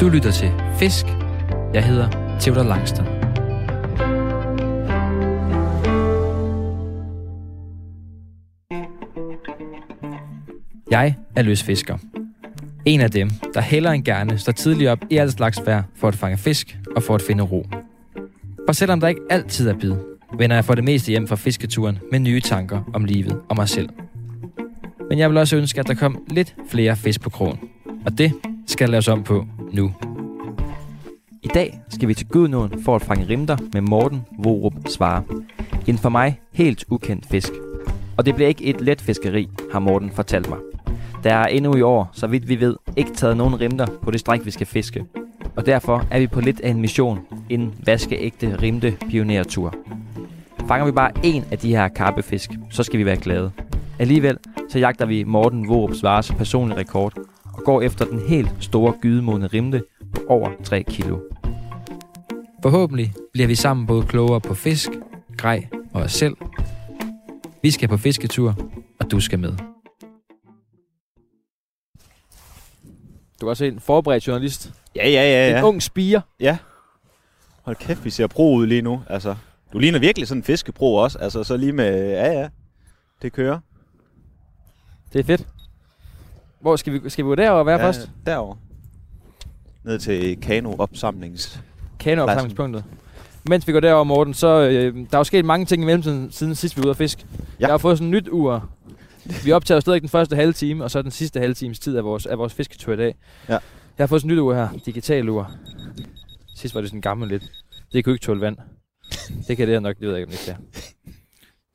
Du lytter til Fisk. Jeg hedder Theodor Langstrøm. Jeg er løsfisker. En af dem, der hellere end gerne står tidligt op i alt slags vejr for at fange fisk og for at finde ro. For selvom der ikke altid er bid, vender jeg for det meste hjem fra fisketuren med nye tanker om livet og mig selv. Men jeg vil også ønske, at der kom lidt flere fisk på krogen. Og det skal laves om på nu. I dag skal vi til Gudnåen for at fange rimter med Morten Vorup Svare. En for mig helt ukendt fisk. Og det bliver ikke et let fiskeri, har Morten fortalt mig. Der er endnu i år, så vidt vi ved, ikke taget nogen rimter på det stræk, vi skal fiske. Og derfor er vi på lidt af en mission, en vaskeægte rimte pionertur. Fanger vi bare en af de her karpefisk, så skal vi være glade. Alligevel så jagter vi Morten Vorup Svares personlige rekord og går efter den helt store gydemåne rimte på over 3 kilo. Forhåbentlig bliver vi sammen både klogere på fisk, grej og os selv. Vi skal på fisketur, og du skal med. Du kan også en forberedt journalist. Ja, ja, ja, ja. ung spiger. Hold kæft, vi ser pro ud lige nu. Altså, du ligner virkelig sådan en fiskepro også. Altså, så lige med, ja, ja. Det kører. Det er fedt. Hvor skal vi, skal vi gå derover og være ja, ja. først? Derovre. Ned til kanoopsamlings. Kanoopsamlingspunktet. Mens vi går derover, Morten, så øh, der er jo sket mange ting i mellemtiden, siden sidst vi var ude at fiske. Ja. Jeg har fået sådan et nyt ur. Vi optager jo stadig den første halve time, og så den sidste halve times tid af vores, af vores fisketur i dag. Ja. Jeg har fået sådan et nyt ur her. Digital ur. Sidst var det sådan gammel lidt. Det kunne ikke tåle vand. Det kan det her nok, det ved jeg ikke, om det kan.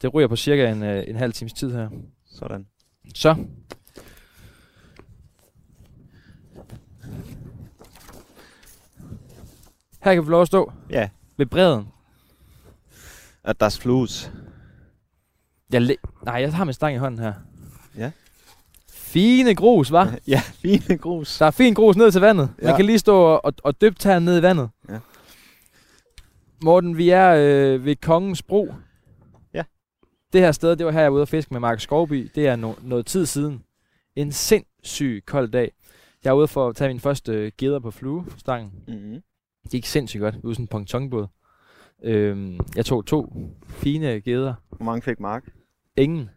Det ryger på cirka en, øh, en halv times tid her. Sådan. Så. Her kan vi få lov at stå Ja. ved bredden. At der flues. Jeg læ- Nej, jeg har min stang i hånden her. Ja. Fine grus, var. Ja, fine grus. Der er fin grus ned til vandet. Ja. Man Ja. kan lige stå og, og, og dyppe tæren ned i vandet. Ja. Morten, vi er øh, ved Kongens Bro. Ja. Det her sted, det var her, jeg var ude at fiske med Mark Skovby. Det er no- noget tid siden. En sindssyg kold dag. Jeg er ude for at tage min første øh, geder på fluestangen. Mm-hmm. Det gik sindssygt godt. Ude i sådan en pontonbåd. Øhm, jeg tog to fine geder. Hvor mange fik Mark? Ingen.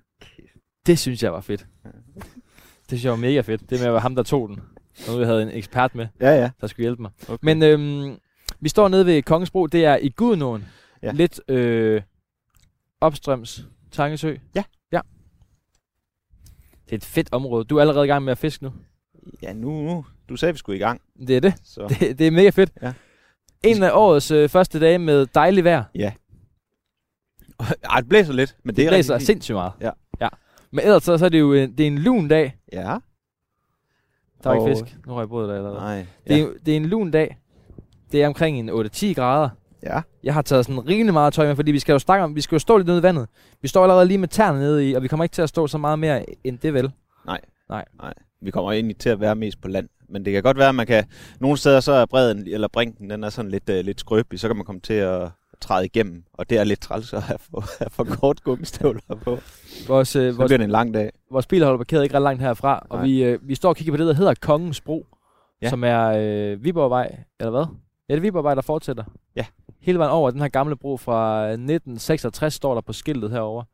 Det synes jeg var fedt. Det synes jeg var mega fedt. Det med at være ham, der tog den. Og nu jeg havde en ekspert med, Ja, ja. der skulle hjælpe mig. Okay. Men øhm, vi står nede ved Kongensbro. Det er i Gudnåen. Ja. Ja. Lidt øh, opstrøms Tangesø. Ja. Ja. Det er et fedt område. Du er allerede i gang med at fiske nu. Ja, nu, nu. Du sagde, vi skulle i gang. Det er det. Så. Det, det er mega fedt. Ja. En af årets øh, første dage med dejlig vejr. Ej, det blæser lidt, men det, Det er blæser rigtig fint. sindssygt meget. Ja. ja. Men ellers så, så er det jo en, det er en lun dag. Ja. Der er ikke Og- fisk. Nu har jeg brudt dig allerede. Nej. Det, Ja. er, det er en lun dag. Det er omkring en 8-10 grader. ja. Jeg har taget sådan rimelig meget tøj med, fordi vi skal jo snakke om, vi skal jo stå lidt nede i vandet. Vi står allerede lige med tæerne nede i, og vi kommer ikke til at stå så meget mere end det vel. Vi kommer egentlig til at være mest på land. Men det kan godt være, at man kan... Nogle steder så er bredden, eller brinken, den er sådan lidt, øh, lidt skrøbelig. Så kan man komme til at træde igennem. Og det er lidt træls at have for, have for kort gummistøvler på. Vores, øh, Så vores, bliver det en lang dag. vores bil holder parkeret ikke ret langt herfra, og Nej. vi, øh, vi står og kigger på det, der hedder Kongens Bro, ja. Ja. som er øh, Viborgvej, eller hvad? Ja, det er Viborgvej, der fortsætter. Ja. Hele vejen over, den her gamle bro fra øh, 1966 står der på skiltet herover.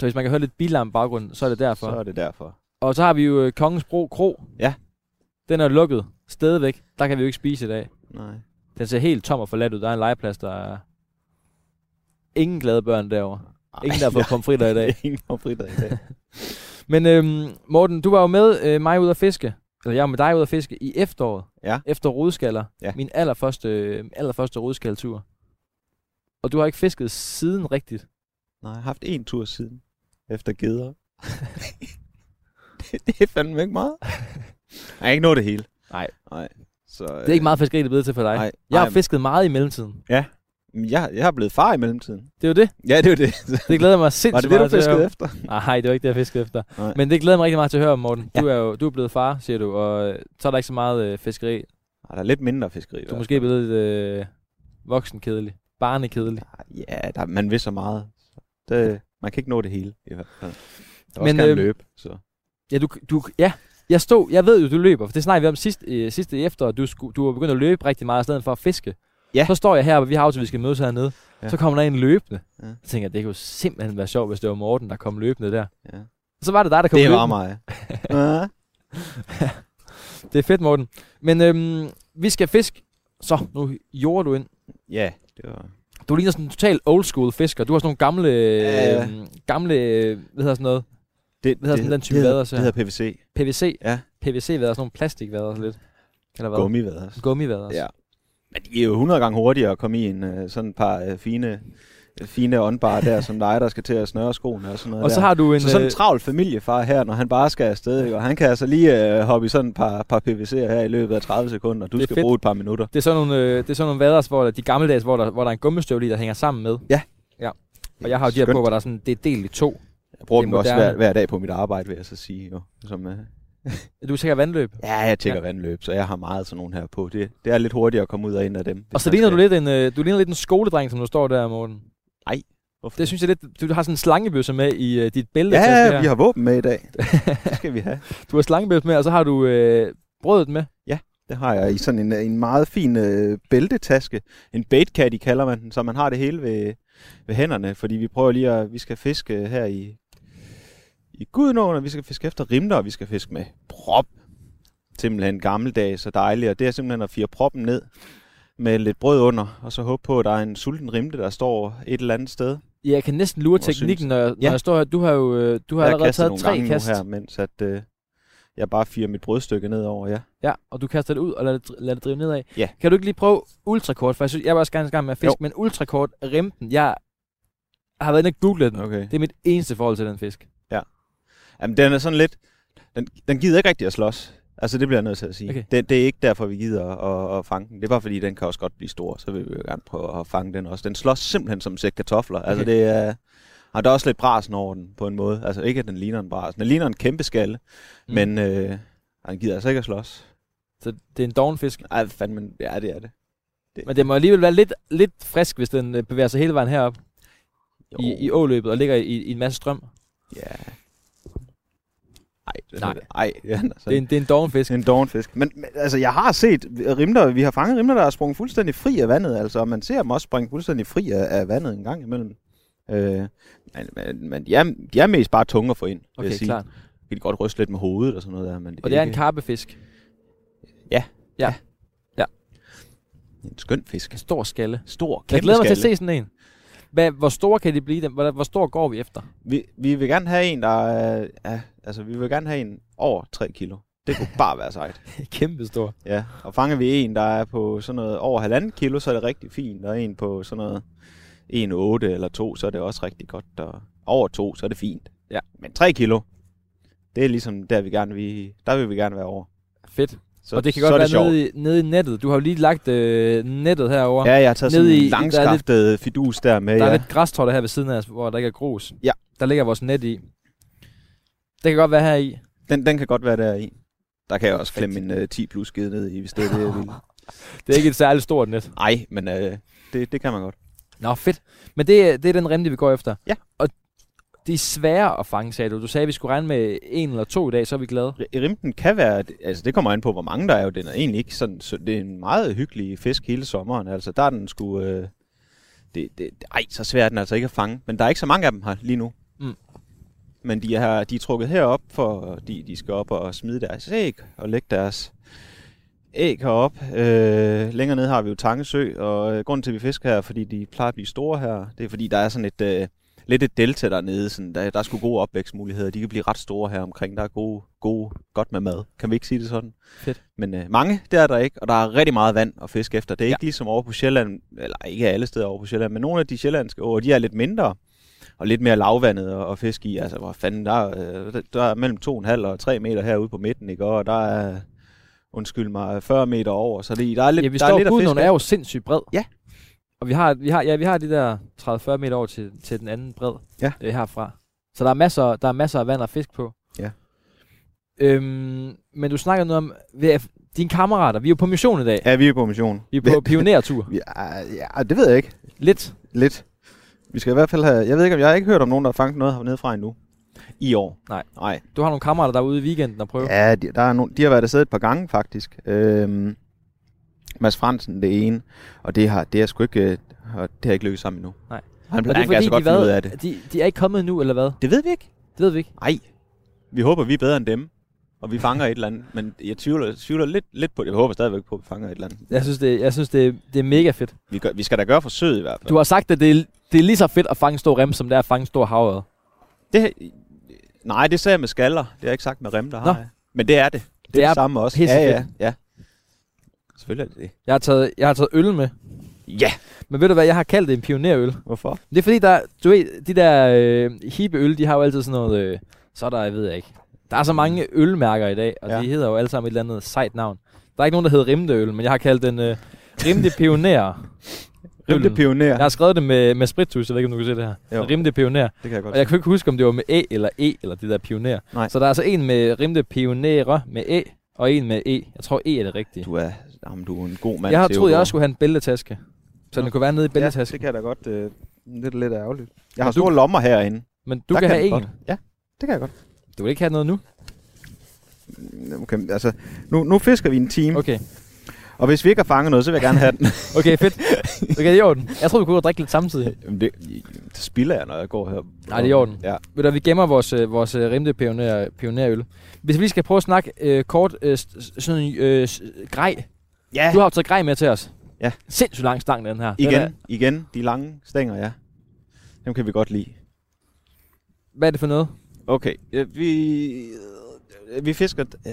Så hvis man kan høre lidt bilarm i baggrunden, så er det derfor. Så er det derfor. Og så har vi jo øh, Kongens Bro Kro. Ja. Den er lukket stadigvæk. Der kan vi jo ikke spise i dag. Nej. Den ser helt tom og forladt ud. Der er en legeplads, der er ingen glade børn derovre. Ingen, der har fået pomfritter i dag. Ingen har fridag i dag. Men øhm, Morten, du var jo med øh, mig ud at fiske. Eller jeg var med dig ud at fiske i efteråret. Ja. Efter rodskaller. Ja. Min allerførste, øh, allerførste rodskaldtur. Og du har ikke fisket siden rigtigt. Nej, jeg har haft en tur siden. Efter geder. det, det er fandme ikke meget. Jeg har ikke nået det hele. Nej. Nej. Så, Det er ikke meget fiskeri, det er blevet til for dig. Øh. Nej. Jeg har Nej, fisket meget i mellemtiden. men jeg, jeg er blevet far i mellemtiden. Det er jo det. Ja, det er jo det. Det glæder jeg mig Var sindssygt det det, du meget til at høre. fiskede efter? Ah, Nej, det var ikke det, jeg fiskede efter. Nej. Nej. Men det glæder mig rigtig meget til at høre om, Morten. Ja. Ja. Du er jo du er blevet far, siger du, og øh, så er der ikke så meget øh, fiskeri. Du Nej, der er lidt mindre fiskeri. i er hvert måske blevet lidt øh, voksenkedelig, barnekedelig. fald. Ah, Ja, der, man vil så meget. Så Det, man kan ikke nå det hele i hvert fald. Der er Men, også gerne øhm, løbe, så. Ja, du, du, ja, Jeg stod, jeg ved jo, du løber, for det snakkede vi om sidste, øh, sidste efter, og du, sku, du var begyndt at løbe rigtig meget, i stedet for at fiske. Ja. Så står jeg her, og vi har aftalt, at vi skal mødes hernede. Ja. Ja. Så kommer der en løbende. Ja. Ja. Jeg tænker, det kunne jo simpelthen være sjovt, hvis det var Morten, der kom løbende der. Ja. Og så var det dig, der kom Det var løbende. mig. ja. Det er fedt, Morten. Men øhm, vi skal fisk. Så, nu jorder du ind. ja, det var... Du ligner sådan en total old school fisker. Du har sådan nogle gamle, Ja, ja, ja. gamle, øh, hvad hedder sådan noget, Det, Hvad hedder sådan den type det, hedder, vaders det her? hedder PVC. PVC. Ja. PVC-vader, sådan nogle plastikvader lidt. Kan der være? Gummivader. Gummivader. Ja. Men de er jo 100 gange hurtigere at komme i en øh, sådan et par øh, fine, øh, fine åndbare der, som dig, der skal til at snøre skoene og sådan noget Og så der. har du en... så sådan en øh, travl familiefar her, når han bare skal afsted, ikke? og han kan altså lige øh, hoppe i sådan et par, par PVC'er her i løbet af 30 sekunder, du Det er skal fedt. bruge et par minutter. det er sådan nogle, øh, det er sådan nogle vaders, hvor der, de gammeldags, hvor der, hvor der er en gummistøvle i, der hænger sammen med. Ja. ja. Og jeg har jo de her Skønt. på, hvor der er sådan, det er delt i to. Jeg bruger det er dem også moderne. hver, hver dag på mit arbejde, vil jeg så sige. Jo. Som, øh, Du tænker vandløb. ja, jeg tjekker ja. vandløb, så jeg har meget sådan nogle her på. Det, det er lidt hurtigere at komme ud og ind af dem. Og så ligner du lidt en, øh, du ligner lidt en skoledreng, som du står der, Morten. lidt. Det synes jeg lidt, du har sådan en slangebøsse med i øh, dit bælte. til det Ja, her. vi har våben med i dag. det skal vi have. Du har slangebøsse med, og så har du øh, brødet med. Det har jeg i sådan en, en meget fin øh, bæltetaske. En baitcaddy kalder man den, så man har det hele ved, ved hænderne, fordi vi prøver lige at, vi skal fiske øh, her i, i Gudnåen, og vi skal fiske efter rimler, og vi skal fiske med prop. Simpelthen gammeldags og dejligt, og det er simpelthen at fire proppen ned med lidt brød under, og så håbe på, at der er en sulten rimle, der står et eller andet sted. Ja, jeg kan næsten lure Hvor synes- teknikken, når, jeg- når Ja. jeg står her. Du har jo øh, du har Jeg allerede kastet taget nogle tre gange nu kast. her, mens at, øh, jeg bare firer mit brødstykke ned over, ja. Ja, og du kaster det ud og lader det, dri- lader det drive nedad. Ja. Kan du ikke lige prøve ultrakort? For jeg, synes, jeg var også gerne i gang med at fiske, Jo. men ultrakort, rempen, jeg har været inde og googlet den. Okay. Det er mit eneste forhold til den fisk. Jamen, den er sådan lidt... Den, den gider ikke rigtig at slås. Altså, det bliver jeg nødt til at sige. Okay. Det, det er ikke derfor, vi gider at, at fange den. Det er bare fordi, den kan også godt blive stor, så vil vi jo gerne prøve at fange den også. Den slås simpelthen som en sæk kartofler. Okay. Altså, Okay. det er... Og der er også lidt brasen over den, på en måde. Altså, ikke at den ligner en bras. Den ligner en kæmpe skalle, mm. Mm. men øh, og den gider altså ikke at slås. Så det er en doven fisk. Ej, fandme, ja, det er det. Men det må alligevel være lidt, lidt frisk, hvis den øh, bevæger sig hele vejen herop i, i åløbet og ligger i, i en masse strøm. Ja. Ej, den Nej. Er, ej, ja, altså. Det er en, det er en doven fisk. En dovenfisk. Men, men altså, jeg har set rimler, vi har fanget rimler, der er sprunget fuldstændig fri af vandet, altså, og man ser dem også springe fuldstændig fri af, af vandet en gang imellem. Øh, men, men, men de, er, de er mest bare tunge at få ind, vil jeg Okay, sige. klart. De kan godt ryste lidt med hovedet og sådan noget der, men Og det er en ikke karpefisk. en skøn fisk. En stor skalle. Stor, kæmpe Jeg glæder mig til at skalle. se sådan en. Hvad, hvor store kan de blive? Dem- Hvor, hvor stor går vi efter? Vi, vi vil gerne have en, der er, ja, altså, vi vil gerne have en over 3 kilo. Det kunne bare være sejt. Kæmpe stor. Ja, og fanger vi en, der er på sådan noget over halvanden kilo, så er det rigtig fint. Og en på sådan noget 1,8 eller 2, så er det også rigtig godt. Og over 2, så er det fint. Ja. Men 3 kilo, det er ligesom der, vi gerne vil, der vil vi gerne være over. Fedt. Så, og det kan så godt er det være sjovt. nede i, nede i nettet. Du har jo lige lagt øh, nettet herover. Ja, jeg har taget Nede sådan i- en der er lidt- langskaftet lidt... fidus der med. Der er ja. lidt græstråler her ved siden af os, hvor der ikke er grus. Ja. Der ligger vores net i. Det kan godt være her i. den, den kan godt være der i. Der kan jeg også klemme en uh, 10 plus skede ned i, hvis det er det, jeg vil. Det er ikke et særligt stort net. Ej, men uh, det, det kan man godt. Nå, fedt. Men det, er- det er den remte, vi går efter. Ja. Og de er svære at fange, sagde du. Du sagde, at vi skulle regne med en eller to i dag, så er vi glade. R- Rimten kan være, altså det kommer an på, hvor mange der er jo, den er egentlig ikke sådan, så det er en meget hyggelig fisk hele sommeren, altså der er den sgu, øh, det, det, ej, så svær er den altså ikke at fange, men der er ikke så mange af dem her lige nu. Mm. Men de er, de er trukket herop, for de, de skal op og smide deres æg og lægge deres æg herop. Øh, længere nede har vi jo Tangesø, og øh, grunden til, at vi fisker her, er, fordi de plejer at blive store her, det er fordi, der er sådan et, øh, lidt et delta dernede. Sådan, der, der er sgu gode opvækstmuligheder. De kan blive ret store her omkring. Der er gode, gode, godt med mad. Kan vi ikke sige det sådan? Fedt. Men øh, mange, det er der ikke. Og der er rigtig meget vand at fiske efter. Det er Ja. ja. ikke ligesom over på Sjælland, eller ikke alle steder over på Sjælland, men nogle af de sjællandske åer, de er lidt mindre og lidt mere lavvandet at, at fiske i. Altså, hvor fanden, der, er, øh, der er mellem 2,5 og 3 meter herude på midten, ikke? Og der er, undskyld mig, 40 meter over. Så det, der er lidt, ja, vi der står er lidt at Gudnåen fiske er jo sindssygt bred. Ja. Og vi har, vi har, ja, vi har de der 30-40 meter over til, til den anden bred Ja. øh, herfra. Så der er, masser, der er masser af vand og fisk på. Ja. Øhm, men du snakker noget om, ved- dine kammerater, vi er jo på mission i dag. Ja, vi er på mission. Vi er på pionertur. Ja, ja, det ved jeg ikke. Lidt. Lidt. Vi skal i hvert fald have... Jeg ved ikke, om jeg har ikke hørt om nogen, der har fanget noget hernede fra endnu. I år? Nej. Nej. Du har nogle kammerater, der er ude i weekenden og prøve. Ja. Ja, de, der er no, de har været afsted et par gange faktisk. Øhm, Mads Fransen det ene, og det har, det har sgu ikke, øh, og det har ikke lykkes sammen endnu. Nej. Han, Og han det er kan fordi, altså de, godt finde ud af hvad, det. de, de er ikke kommet nu eller hvad? Det ved vi ikke. Det ved vi ikke. Nej. Vi håber, vi er bedre end dem, og vi fanger et eller andet. Men jeg tvivler, tvivler lidt, lidt på det. Jeg håber stadigvæk på, at vi fanger et eller andet. Jeg synes, det, jeg synes, det, det er mega fedt. Vi, gør, vi skal da gøre forsøget i hvert fald. Du har sagt, at det er, det er lige så fedt at fange en stor rem, som det er at fange en stor havørred. Det, nej, det sagde jeg med skaller. Det har jeg ikke sagt med rem, der Nå. har jeg. Men det er det. Det, det er det samme også. pisse Ja, ja, fedt. ja. Selvfølgelig er det det. Jeg har taget, jeg har taget øl med. Ja. Men ved du hvad, jeg har kaldt det en pionerøl. Hvorfor? Det er fordi, der, du ved, de der øh, hippe øl, de har jo altid sådan noget, øh, så er der, jeg ved jeg ikke. Der er så mange ølmærker i dag, og ja. Ja. de hedder jo alle sammen et eller andet sejt navn. Der er ikke nogen, der hedder Rimdeøl, men jeg har kaldt den øh, Rimde Pioner. Rimte Øllen. pioner. Jeg har skrevet det med, med spritus, jeg ved ikke, om du kan se det her. Jo. Rimde Pioner. Det kan jeg godt Og jeg kunne ikke huske, om det var med E eller E, eller det der pioner. Nej. Så der er altså en med Rimde Pionerer med E, og en med E. Jeg tror, E er det rigtige. Du er, jamen, du er en god mand. Jeg har troet, jeg Theodor. også skulle have en bæltetaske. Så Nå. den kunne være nede i Ja, bæltetasken. det kan jeg da godt. Øh, det er da lidt ærgerligt. Jeg har Men du- store lommer herinde. Men du Der kan have jeg en. godt. Ja, det kan jeg godt. Du vil ikke have noget nu? Mm, Okay, altså, nu, nu fisker vi en time, okay. Okay. og hvis vi ikke har fanget noget, så vil jeg gerne have den. Okay, fedt. Okay, det er i orden. Jeg tror, vi kunne gå og drikke lidt samtidig. Jamen, det, det spiller jeg, når jeg går her. Nej, det er i orden. Ja. Ved du, hvad, vi gemmer vores, øh, vores øh, rimte pioner, pionerøl. Hvis vi lige skal prøve at snakke øh, kort, øh, s- s- sådan en øh, s- grej. ja. Du har jo taget grej med til os. Ja. Sindssygt lang stang, den her. Den Igen, Er, igen, de lange stænger, ja. Dem kan vi godt lide. hvad er det for noget? Okay, ja, vi, øh, vi fisker... Øh,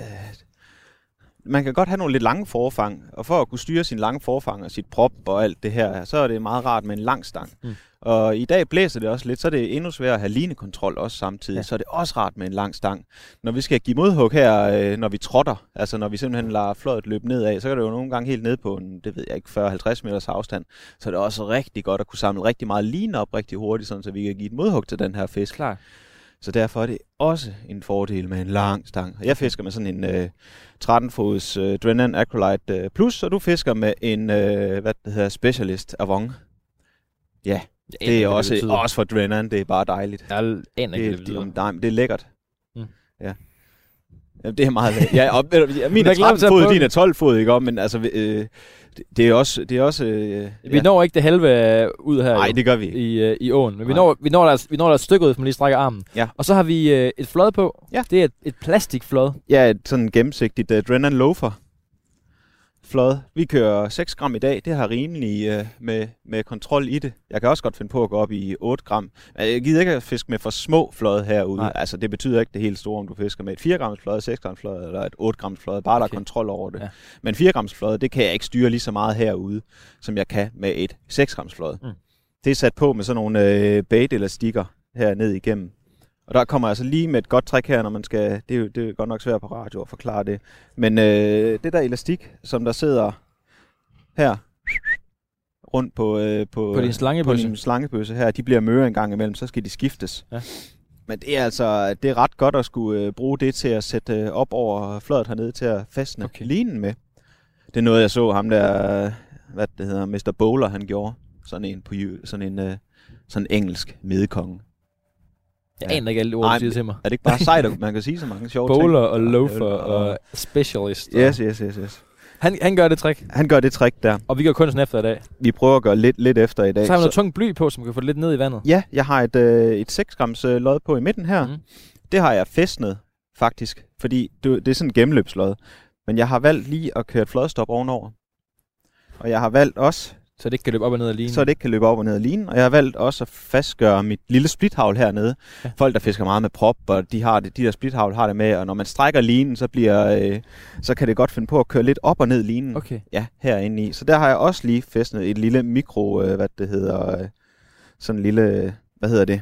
man kan godt have nogle lidt lange forfang, og for at kunne styre sin lange forfang og sit prop og alt det her, så er det meget rart med en lang stang. Mm. Mm. Og i dag blæser det også lidt, så er det endnu sværere at have linekontrol også samtidig, Ja. ja. så er det også rart med en lang stang. Når vi skal give modhug her, øh, når vi trotter, altså når vi simpelthen lader fløjet løbe nedad, så kan det jo nogle gange helt ned på en, det ved jeg ikke, 40-50 meters afstand. Så er det også rigtig godt at kunne samle rigtig meget line op rigtig hurtigt, sådan, så vi kan give et modhug til den her fisk. Klart. Så derfor er det også en fordel med en lang stang. Og Jeg fisker med sådan en øh, 13-fods øh, Drennan Acrolite øh, Plus, og du fisker med en, øh, hvad det hedder, Specialist Avon. Jeg aner Det ikke, er hvad også, betyder. også for Drennan, det er bare dejligt. Jeg aner ikke, Det, hvad det, det betyder. det, nej, men det er lækkert. Mm. Mm. Ja. Jamen, det er meget lækkert. Ja, og, ved du, ja, min Jeg er glæder mig til at 13 fod, prøve din er 12 fod, ikke om? Men altså, øh, det, det er også... Det er også øh, Vi når ikke det halve øh, ud her. Nej, jo. det gør vi ikke. i, øh, i åen. Men vi Nej. når, vi, når der, altså, vi når der et stykke ud, hvis man lige strækker armen. Ja. Og så har vi øh, et flod på. Ja. Det er et, et plastikflod. Ja, et sådan gennemsigtigt uh, Drennan Loafer. Flod. Vi kører 6 gram i dag. Det har rimelig uh, med, med kontrol i det. Jeg kan også godt finde på at gå op i 8 gram. Øh, Jeg gider ikke at fiske med for små flod herude. Nej. Nej. Altså, det betyder ikke det helt store, om du fisker med et 4 grams flod, 6 grams flod eller et 8 grams flod. Bare okay. der Okay. er kontrol over det. Ja. Ja. Men 4 grams flod, det kan jeg ikke styre lige så meget herude, som jeg kan med et 6 grams flod. Mm. Mm. Det er sat på med sådan nogle øh, bait-elastikker her ned igennem. Og der kommer altså lige med et godt træk her, når man skal... Det er, jo, det er godt nok svært på radio at forklare det. Men øh, det der elastik, som der sidder her rundt på, øh, på, øh, På din på slangebøsse. din slangebøsse her, de bliver møre en gang imellem, så skal de skiftes. Ja. Men det er altså det er ret godt at skulle øh, bruge det til at sætte øh, op over flødet hernede til at fastne Okay. okay. linen med. Det er noget, jeg så ham der, øh, hvad det hedder, Mr. Bowler, han gjorde. Sådan en, på, jø- sådan en, øh, sådan en engelsk medekonge. Jeg Ja. aner ikke alle de ord, Nej, du siger til mig. Er det ikke bare sejt, at man kan sige så mange sjove ting? Bowler og loafer Ja, og specialist. Yes, Og yes, yes, yes. han, han gør det trick, Han gør det trick der. og vi gør kunsten efter i dag. Vi prøver at gøre lidt, lidt efter i dag. Så har han noget tungt bly på, som kan få det lidt ned i vandet. Ja, jeg har et, øh, et 6 grams øh, lod på i midten her. Mhm. Mm. Det har jeg festnet, faktisk. Fordi du, det er sådan en gennemløbslod. Men jeg har valgt lige at køre et flodstop ovenover. Og jeg har valgt også, Så det ikke kan løbe op og ned af linen. så det ikke kan løbe op og ned af linen. Og jeg har valgt også at fastgøre mit lille splithavl hernede. Ja. Ja. Folk, der fisker meget med prop, og de, har det, de der splithavl har det med. Og når man strækker linen, så, bliver, øh, så kan det godt finde på at køre lidt op og ned linen. Okay. Ja, herinde i. Så der har jeg også lige fæstnet et lille mikro, øh, hvad det hedder, øh, sådan en lille, øh, hvad hedder det?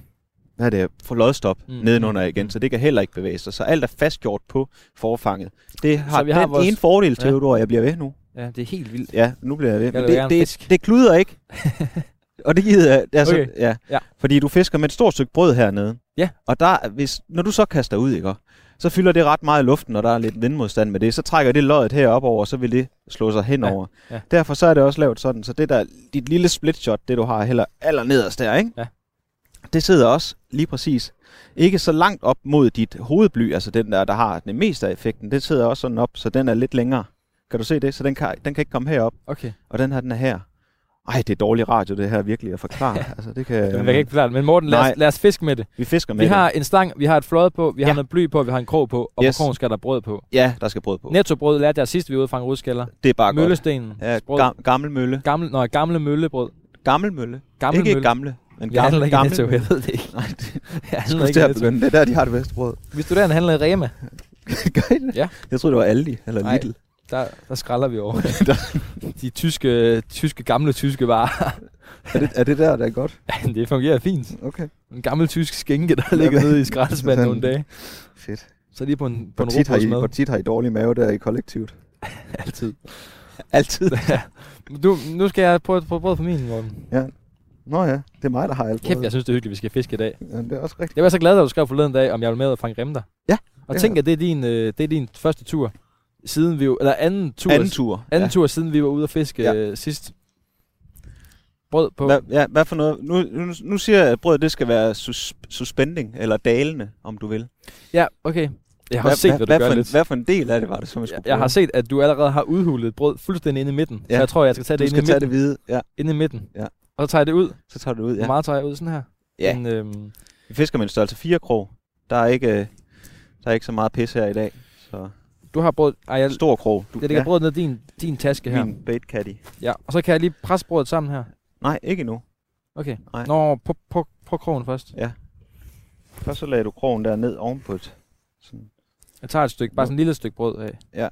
Hvad er det? For lodstop Mm, mm, nedenunder mm, igen, mm. så det kan heller ikke bevæge sig. Så alt er fastgjort på forfanget. Det har, vi vi har har den vores- ene fordel, Ja. Theodor, jeg bliver ved nu. Ja, det er helt vildt. Ja, nu bliver jeg ved. vil Men det, gerne det, fisk. det kluder ikke. og det gider jeg. Altså, Okay. okay. ja. Ja. Fordi du fisker med et stort stykke brød hernede. Ja. Og der, hvis, når du så kaster ud, ikke, så fylder det ret meget i luften, og der er lidt vindmodstand med det. Så trækker det løjet herop over, og så vil det slå sig henover. Ja. Ja. Derfor så er det også lavet sådan, så det der, dit lille split shot, det du har heller aller nederst der, ikke? Ja. det sidder også lige præcis. Ikke så langt op mod dit hovedbly, altså den der, der har den meste af effekten. Den sidder også sådan op, så den er lidt længere. Kan du se det? Så den kan, den kan ikke komme herop, Okay. og den her, den er her. Ej, det er dårlig radio, det her virkelig at forklare. altså, det kan, Jeg kan ikke forklare det, men Morten, lad Nej. os, lad os fiske med det. Vi fisker med Vi har en stang, vi har et flod på, vi har Ja. noget bly på, vi har en krog på, og yes. Yes. på krogen skal der brød på. det. Ja, der skal brød på. Netto brød lærte jeg sidst, vi var ude og fange rudskaller. Det er bare godt. Møllestenen. Ja, brød. gam, gammel mølle. Gamle, nej, gamle møllebrød. Gammel mølle. Gamle ikke mølle. gamle, men Jeg handler gammel, ikke i gammel Netto, jeg mølle. ved det ikke. Nej, det, Jeg jeg handler skulle ikke til i at Netto. begynde. Det er der, de har det bedste brød. Vi studerende handler i Rema. Gør I det? Ja. Jeg troede, det var Aldi eller Nej. Lidl. Der, der skralder vi over. De tyske, tyske, gamle tyske varer. Er det, er det der, der er godt? det fungerer fint. Okay. En gammel tysk skinke, der ligger nede i skraldespanden nogle dage. Fedt. Så lige på en, på Hvor en tit, har I, hvor robrødsmad. tit har I dårlig mave der i kollektivet? Altid. Altid. Du, nu skal jeg prøve, prøve brød på min, Morten. Nå ja, det er mig, der har alt Kæft, jeg synes, det er hyggeligt, vi skal fiske i dag. brødet. Ja, det er også rigtigt. Jeg var så glad, da du skrev forleden dag, om jeg ville med og fange remter. Ja, Og det tænk, er- at det er din, øh, det er din første tur, siden vi jo- eller anden tur, Anden tur. anden ja. tur siden vi var ude og fiske Ja. ja. sidst. Brød på. Hvad, ja, hvad for noget? Nu, nu, nu siger jeg, at brødet det skal være sus, suspending, eller dalende, om du vil. Ja, okay. Jeg har hvad, også set, hvad, hvad, du gør for en, lidt. hvad for en del af det var det, som jeg skulle jeg har prøve? set, at du allerede har udhulet et brød fuldstændig inde i midten. Ja. Ja. Så jeg tror, jeg skal tage det, Du inde, skal i midten, tage det hvide. Ja, inde i midten. Ja. Og så tager jeg det ud. så tager du det ud. Ja. Hvor Ja. meget tager jeg ud sådan her? Ja. En, øhm, Vi fisker med en størrelse 4 krog. Der er ikke, øh, der er ikke så meget pisse her i dag. Så du har brød. Ej, jeg, stor krog. Du, jeg lægger ja. brødet ned i din, din taske her. min bait caddy. Ja. Og så kan jeg lige presse brødet sammen her. Nej, ikke endnu. Okay. Nej. Nå, på, på, på krogen først. Først så lagde du krogen der ned ovenpå et. Sådan, Jeg tager et stykke, bare sådan et lille stykke brød af.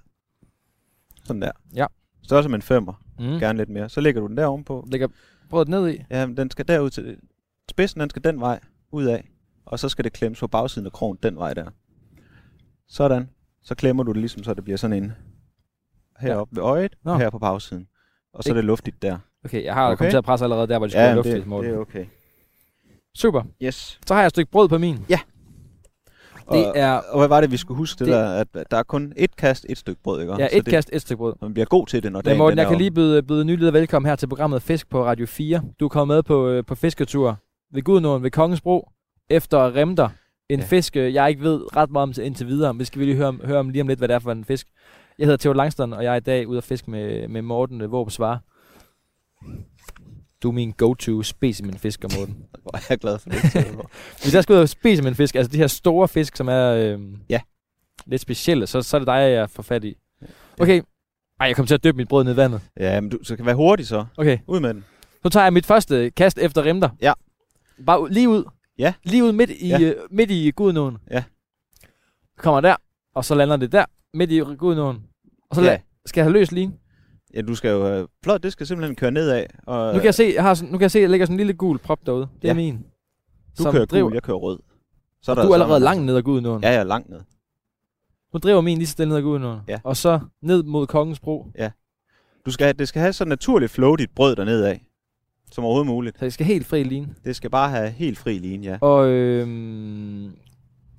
sådan der. Ja. Størrelse med en femmer. Mm. Mm. Gerne lidt mere. Så lægger du den der ovenpå. Lægger brødet ned i. Ja, men den skal derud til... Spidsen, den skal den vej ud af. Og så skal det klemmes på bagsiden af krogen den vej der. Sådan. Så klemmer du det ligesom, så det bliver sådan en... Heroppe ved øjet, Nå. og her på bagsiden. Og så er Ikke- det luftigt der. Okay, jeg har okay. Okay. kommet til at presse allerede der, hvor det skulle ja, være men luftigt. det, det er okay. Super. Yes. Så har jeg et stykke brød på min. Og, Det er og hvad var det, vi skulle huske? Det, Det- det der, at at der er kun et kast, et stykke brød, ikke? ja, Så et det, kast, et stykke brød. Man bliver god til det, når Men dagen Morten, den jeg er kan omme. lige byde, byde nyleder velkommen her til programmet Fisk på Radio 4. Du er kommet med på, øh, på fisketur ved Gudnåen ved Kongensbro efter remter. En ja. Ja. fisk, øh, jeg ikke ved ret meget om til- indtil videre, men det skal vi lige høre om, høre om lige om lidt, hvad det er for en fisk. Jeg hedder Theo Langstrøm, og jeg er i dag ude at fiske med, med Morten øh, Våb Svare. Du er min go-to specimen fisker, Morten. Hvor er jeg glad for det. Hvis jeg skal ud og spise med en fisk, altså de her store fisk, som er øh, Ja. lidt specielle, så, så er det dig, jeg får fat i. Okay. Ej, jeg kom til at døbe mit brød ned i vandet. Ja, men du så kan være hurtig så. Okay. Ud med den. Nu tager jeg mit første kast efter remter. Ja. Bare ud, lige ud. Ja. Lige ud midt i, Ja. ja. midt i gudnåen. Ja. Kommer der, og så lander det der, midt i gudnåen. Og så ja. ja. skal jeg have løs lige. ja, du skal jo... Øh, plot, det skal simpelthen køre nedad. Og, Nu kan jeg se, jeg, har sådan, nu kan jeg se, at jeg lægger sådan en lille gul prop derude. Det er Ja. min. du som kører driver. gul, jeg kører rød. Så altså Du er allerede langt ned ad gudnåen. Ja, ja, langt ned. Nu driver min lige så stille ned ad gudnåen. Ja. Og så ned mod Kongens Bro. Du skal, have- det skal have så naturligt flow dit brød dernede af. Som overhovedet muligt. Så jeg skal helt fri line. Det skal bare have helt fri linje, ja. Og øhm,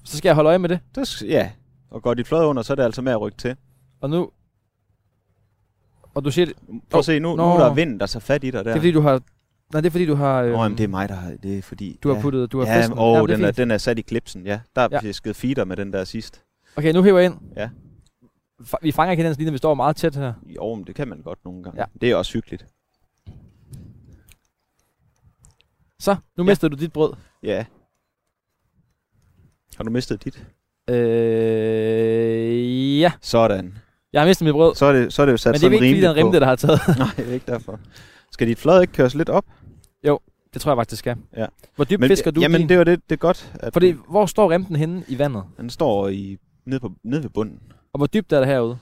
så skal jeg holde øje med det. Det sk- ja. Og går dit flod under, så er det altså med at rykke til. Og nu... Og du siger, det, Prøv at se, nu, nu nå. er der vind, der så fat i dig der. det er fordi, du har... Nej, det er fordi, du har... øhm, Nå, jamen, det er mig, der har... Det er fordi... Du har ja. puttet... Du har Ja, fisken. åh, Jamen, det den, er, fint. den er sat i klipsen, ja. Der Ja. er fisket feeder med den der sidst. Okay, nu hæver jeg ind. Ja. Fa- Vi fanger ikke hinandens lige, når vi står meget tæt her. Jo, men det kan man godt nogle gange. Ja. Ja. Det er også hyggeligt. Så, nu ja. Ja. mister du dit brød. Ja. Har du mistet dit? Øh, ja, Sådan. jeg har mistet mit brød. Så er det, så er det jo sat Men det er ikke sådan fordi, den rimeligt rimte, der har taget. på. Nej, det er ikke derfor. Skal dit flad ikke køres lidt op? det tror jeg faktisk, det skal. Ja. Hvor dybt fisker du Jamen, din? det var det, det er godt, at Fordi, Fordi... hvor står remten henne i vandet? den står i, nede, på, nede ved bunden. Og hvor dybt er det herude?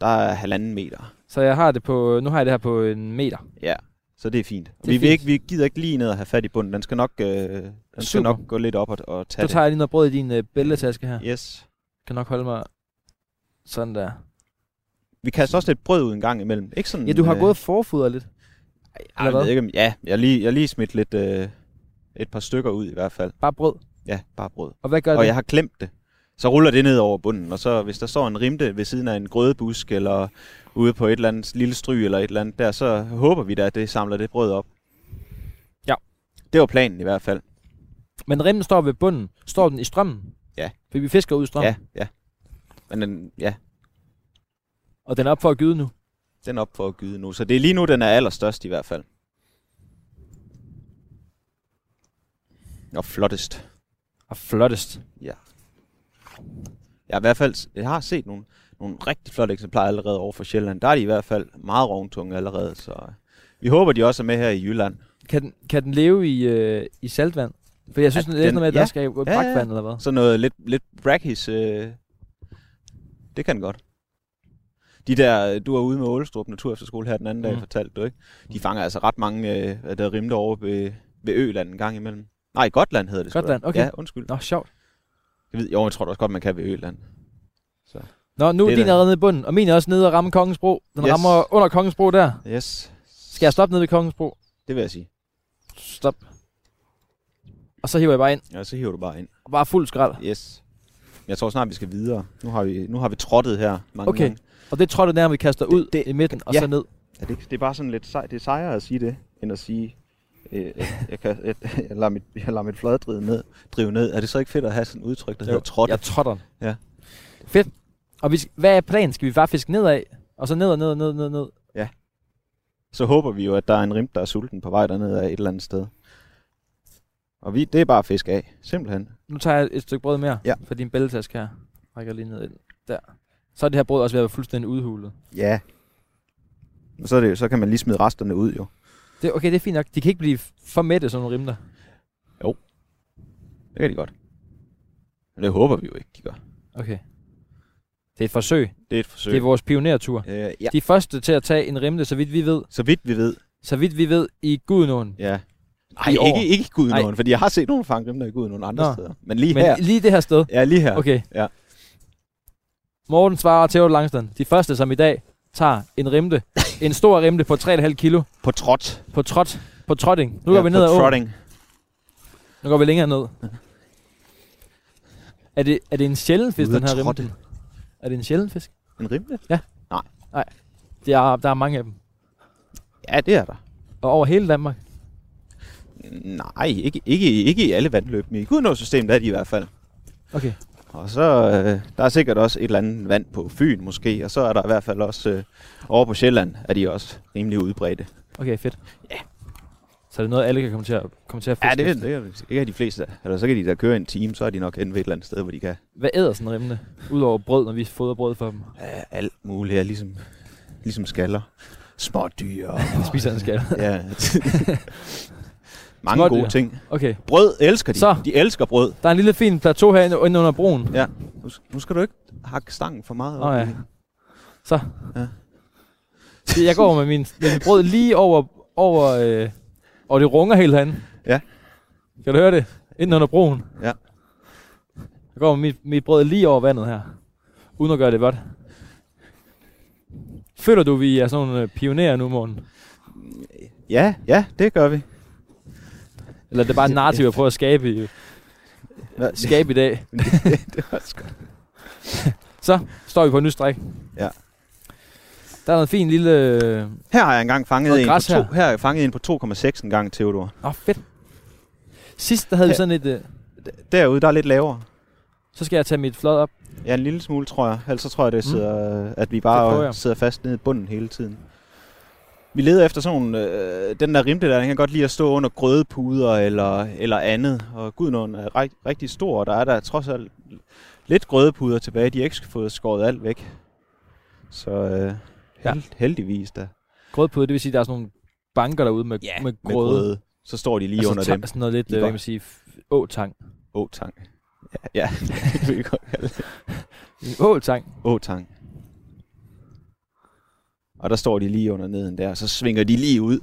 Der er halvanden meter. Så jeg har det på, nu har jeg det her på en meter. Ja, så det er fint. Det er vi, vil fint. Ikke, vi gider ikke lige ned og have fat i bunden. Den skal nok, øh, den skal Super. nok gå lidt op og, og tage Så tager jeg lige noget brød i din øh, bæltetaske her. det. Yes. Kan nok holde mig sådan der. Vi kaster også lidt brød ud en gang imellem. Ikke sådan, Ja, du har øh, gået og forfodret lidt. ej, eller jeg hvad? ved ikke, om- ja, jeg har lige, jeg har lige smidt lidt, øh, et par stykker ud i hvert fald. Bare brød. Ja, bare brød. Og hvad gør og det? jeg har klemt det. Så ruller det ned over bunden, og så hvis der står en rimte ved siden af en grødebusk, eller ude på et eller andet lille stry, eller et eller andet der, så håber vi da, at det samler det brød op. Ja. Det var planen i hvert fald. Men remmen står ved bunden. Står den i strømmen? Ja. For vi fisker ud i strømmen. Ja, ja. Men den, ja, Og den er op for at gyde nu. den er op for at gyde nu. Så det er lige nu, den er allerstørst i hvert fald. Og flottest. Ah, Og flottest. Ja. Jeg har i hvert fald jeg har set nogle, nogle rigtig flotte eksemplarer allerede over for Sjælland. Der er de i hvert fald meget rovntunge allerede, så øh, vi håber, de også er med her i Jylland. Kan den, kan den leve i, øh, i saltvand? For jeg synes, Ja, ja, det er den- sådan noget, der ja. skal i ja. brakvand eller hvad? Så noget lidt, lidt brackish, øh, det kan den godt. De der, øh, du var ude med Ålestrup Naturefterskole her den anden dag, Mm. fortalte du ikke? De fanger altså ret mange, øh, der rimte over ved, ved Øland en gang imellem. Nej, Gotland hedder det. sgu da. Gotland, okay. Ja, undskyld. Nå, sjovt. Jeg ved, jo, jeg tror da også godt, man kan ved Øland. Nå, nu Det er er din da- allerede nede i bunden, og min er også nede og ramme Kongens Bro. Den Yes. yes. rammer under Kongens Bro der. Yes. Skal jeg stoppe nede ved Kongens Bro? Det vil jeg sige. Stop. Og så hiver jeg bare ind. Ja, så hiver du bare ind. Og bare fuld skrald. Yes. Jeg tror snart, vi skal videre. Nu har vi, nu har vi trottet her mange Okay. gange. Og det tror du nærmest, vi kaster Det- ud det- i midten, og ja. så ned. Er det, ikke- det er bare sådan lidt sej, det er sejere at sige det, end at sige, øh, jeg- jeg, kan, jeg, jeg, lader mit, jeg lader mit fladedrive ned, drive ned. Er det så ikke fedt at have sådan et udtryk, der hedder trotte? Jeg trotter. Ja. Fedt. Og vi, sk- hvad er planen? Skal vi bare fiske nedad? Og så ned og ned og ned ned ned? Så håber vi jo, at der er en rim, der er sulten på vej dernede af et eller andet sted. Og vi, det er bare fisk af, simpelthen. Nu tager jeg et stykke brød mere Ja. for din bæltetaske her. Rækker lige ned i den. Der. Så er det her brød også ved at være fuldstændig udhulet. Ja. Og så, er det, jo- så kan man lige smide resterne ud jo. Det, okay, det er fint nok. De kan ikke blive for mætte, sådan nogle rimler. Det kan de godt. Men det håber vi jo ikke, de gør. Okay. Det er et forsøg. Det er et forsøg. Det er vores pionertur. øh, ja. De første til at tage en rimle, så vidt vi ved, Så vidt vi ved, så vidt vi ved i Gudnåen. Ja. I Nej, år. ikke, ikke i Gudenåen, Nej. fordi jeg har set nogle fange dem der i Gudenåen andre Nå. steder. Men lige Men her. lige det her sted. Ja, lige her. Okay. Ja. Morten svarer og Theo Langsten. De første, som i dag tager en rimte. en stor rimte på 3,5 kilo På trot. på trot. På trotting. Nu går ja, vi ned på ad åen. trotting. Nu går vi længere ned. Er det, er det en sjælden fisk, Ude den at her trotte. rimte? Er det en sjælden fisk? En rimle? Det er, der er mange af dem. Ja, det er der. Og over hele Danmark. Nej, ikke, ikke, ikke i alle vandløb, men i Gudenåssystemet er de i hvert fald. Okay. Og så øh, der er sikkert også et eller andet vand på Fyn måske, og så er der i hvert fald også øh, over på Sjælland, er de også rimelig udbredte. Okay, fedt. Ja. Så er det noget, alle kan komme til at, komme til at fiske. Ja, det, det, er, det er de fleste. Eller så kan de da køre en time, så er de nok inde ved et eller andet sted, hvor de kan Hvad æder sådan en rimle? Udover brød, når vi fodrer brød for dem. øh, alt muligt. Ja, ligesom, ligesom skaller. Smådyr. og- Spiser en skal. Ja. Mange Smådyr. gode ting. Okay. Brød elsker de. Så. De elsker brød. Der er en lille fin plateau herinde inde under broen. Nu s- Nu skal du ikke hakke stangen for meget. Nå op i- ja. Så. Ja. Det- Jeg går med min, min brød lige over, over øh, og det runger helt herinde. Ja. Kan du høre det? Inden under broen. Ja. Jeg går med mit, mit brød lige over vandet her. Uden at gøre det godt. Føler du, vi er sådan nogle øh, pionerer nu, morgen? Ja, ja, det gør vi. Eller er det bare et narrativ, jeg prøver at skabe i, Nå, skabe i dag? det er også godt. Så står vi på en ny stræk. Ja. Der er noget fint lille... øh, Her har jeg engang fanget Noget en på, græs to, her. her har jeg fanget en på 2,6 en gang, Theodor. Åh, oh, fedt. Sidst, der havde vi Ja. sådan et... Øh, D- derude, der er lidt lavere. så skal jeg tage mit flot op. Ja, en lille smule, tror jeg. Ellers så tror jeg, det Mm. sidder, mm. at vi Det prøver bare jeg. sidder fast nede i bunden hele tiden. Vi leder efter sådan nogle, øh, den der rimte der, den kan godt lide at stå under grødepuder eller, eller andet. Og gudnåen er rigt, rigtig stor, og der er der trods alt lidt grødepuder tilbage. De har ikke fået skåret alt væk. Så øh, Ja. held, heldigvis da. Grødpude, det vil sige, at der er sådan nogle banker derude med, med grøde. med grøde. Altså Så står de lige og under så dem. Sådan noget lidt, De øh, går- hvad kan man sige, f- åtang. Åtang. Ja, ja. det vil jeg godt kalde det. En Åtang. Åtang. Og der står de lige under neden der, og så svinger de lige ud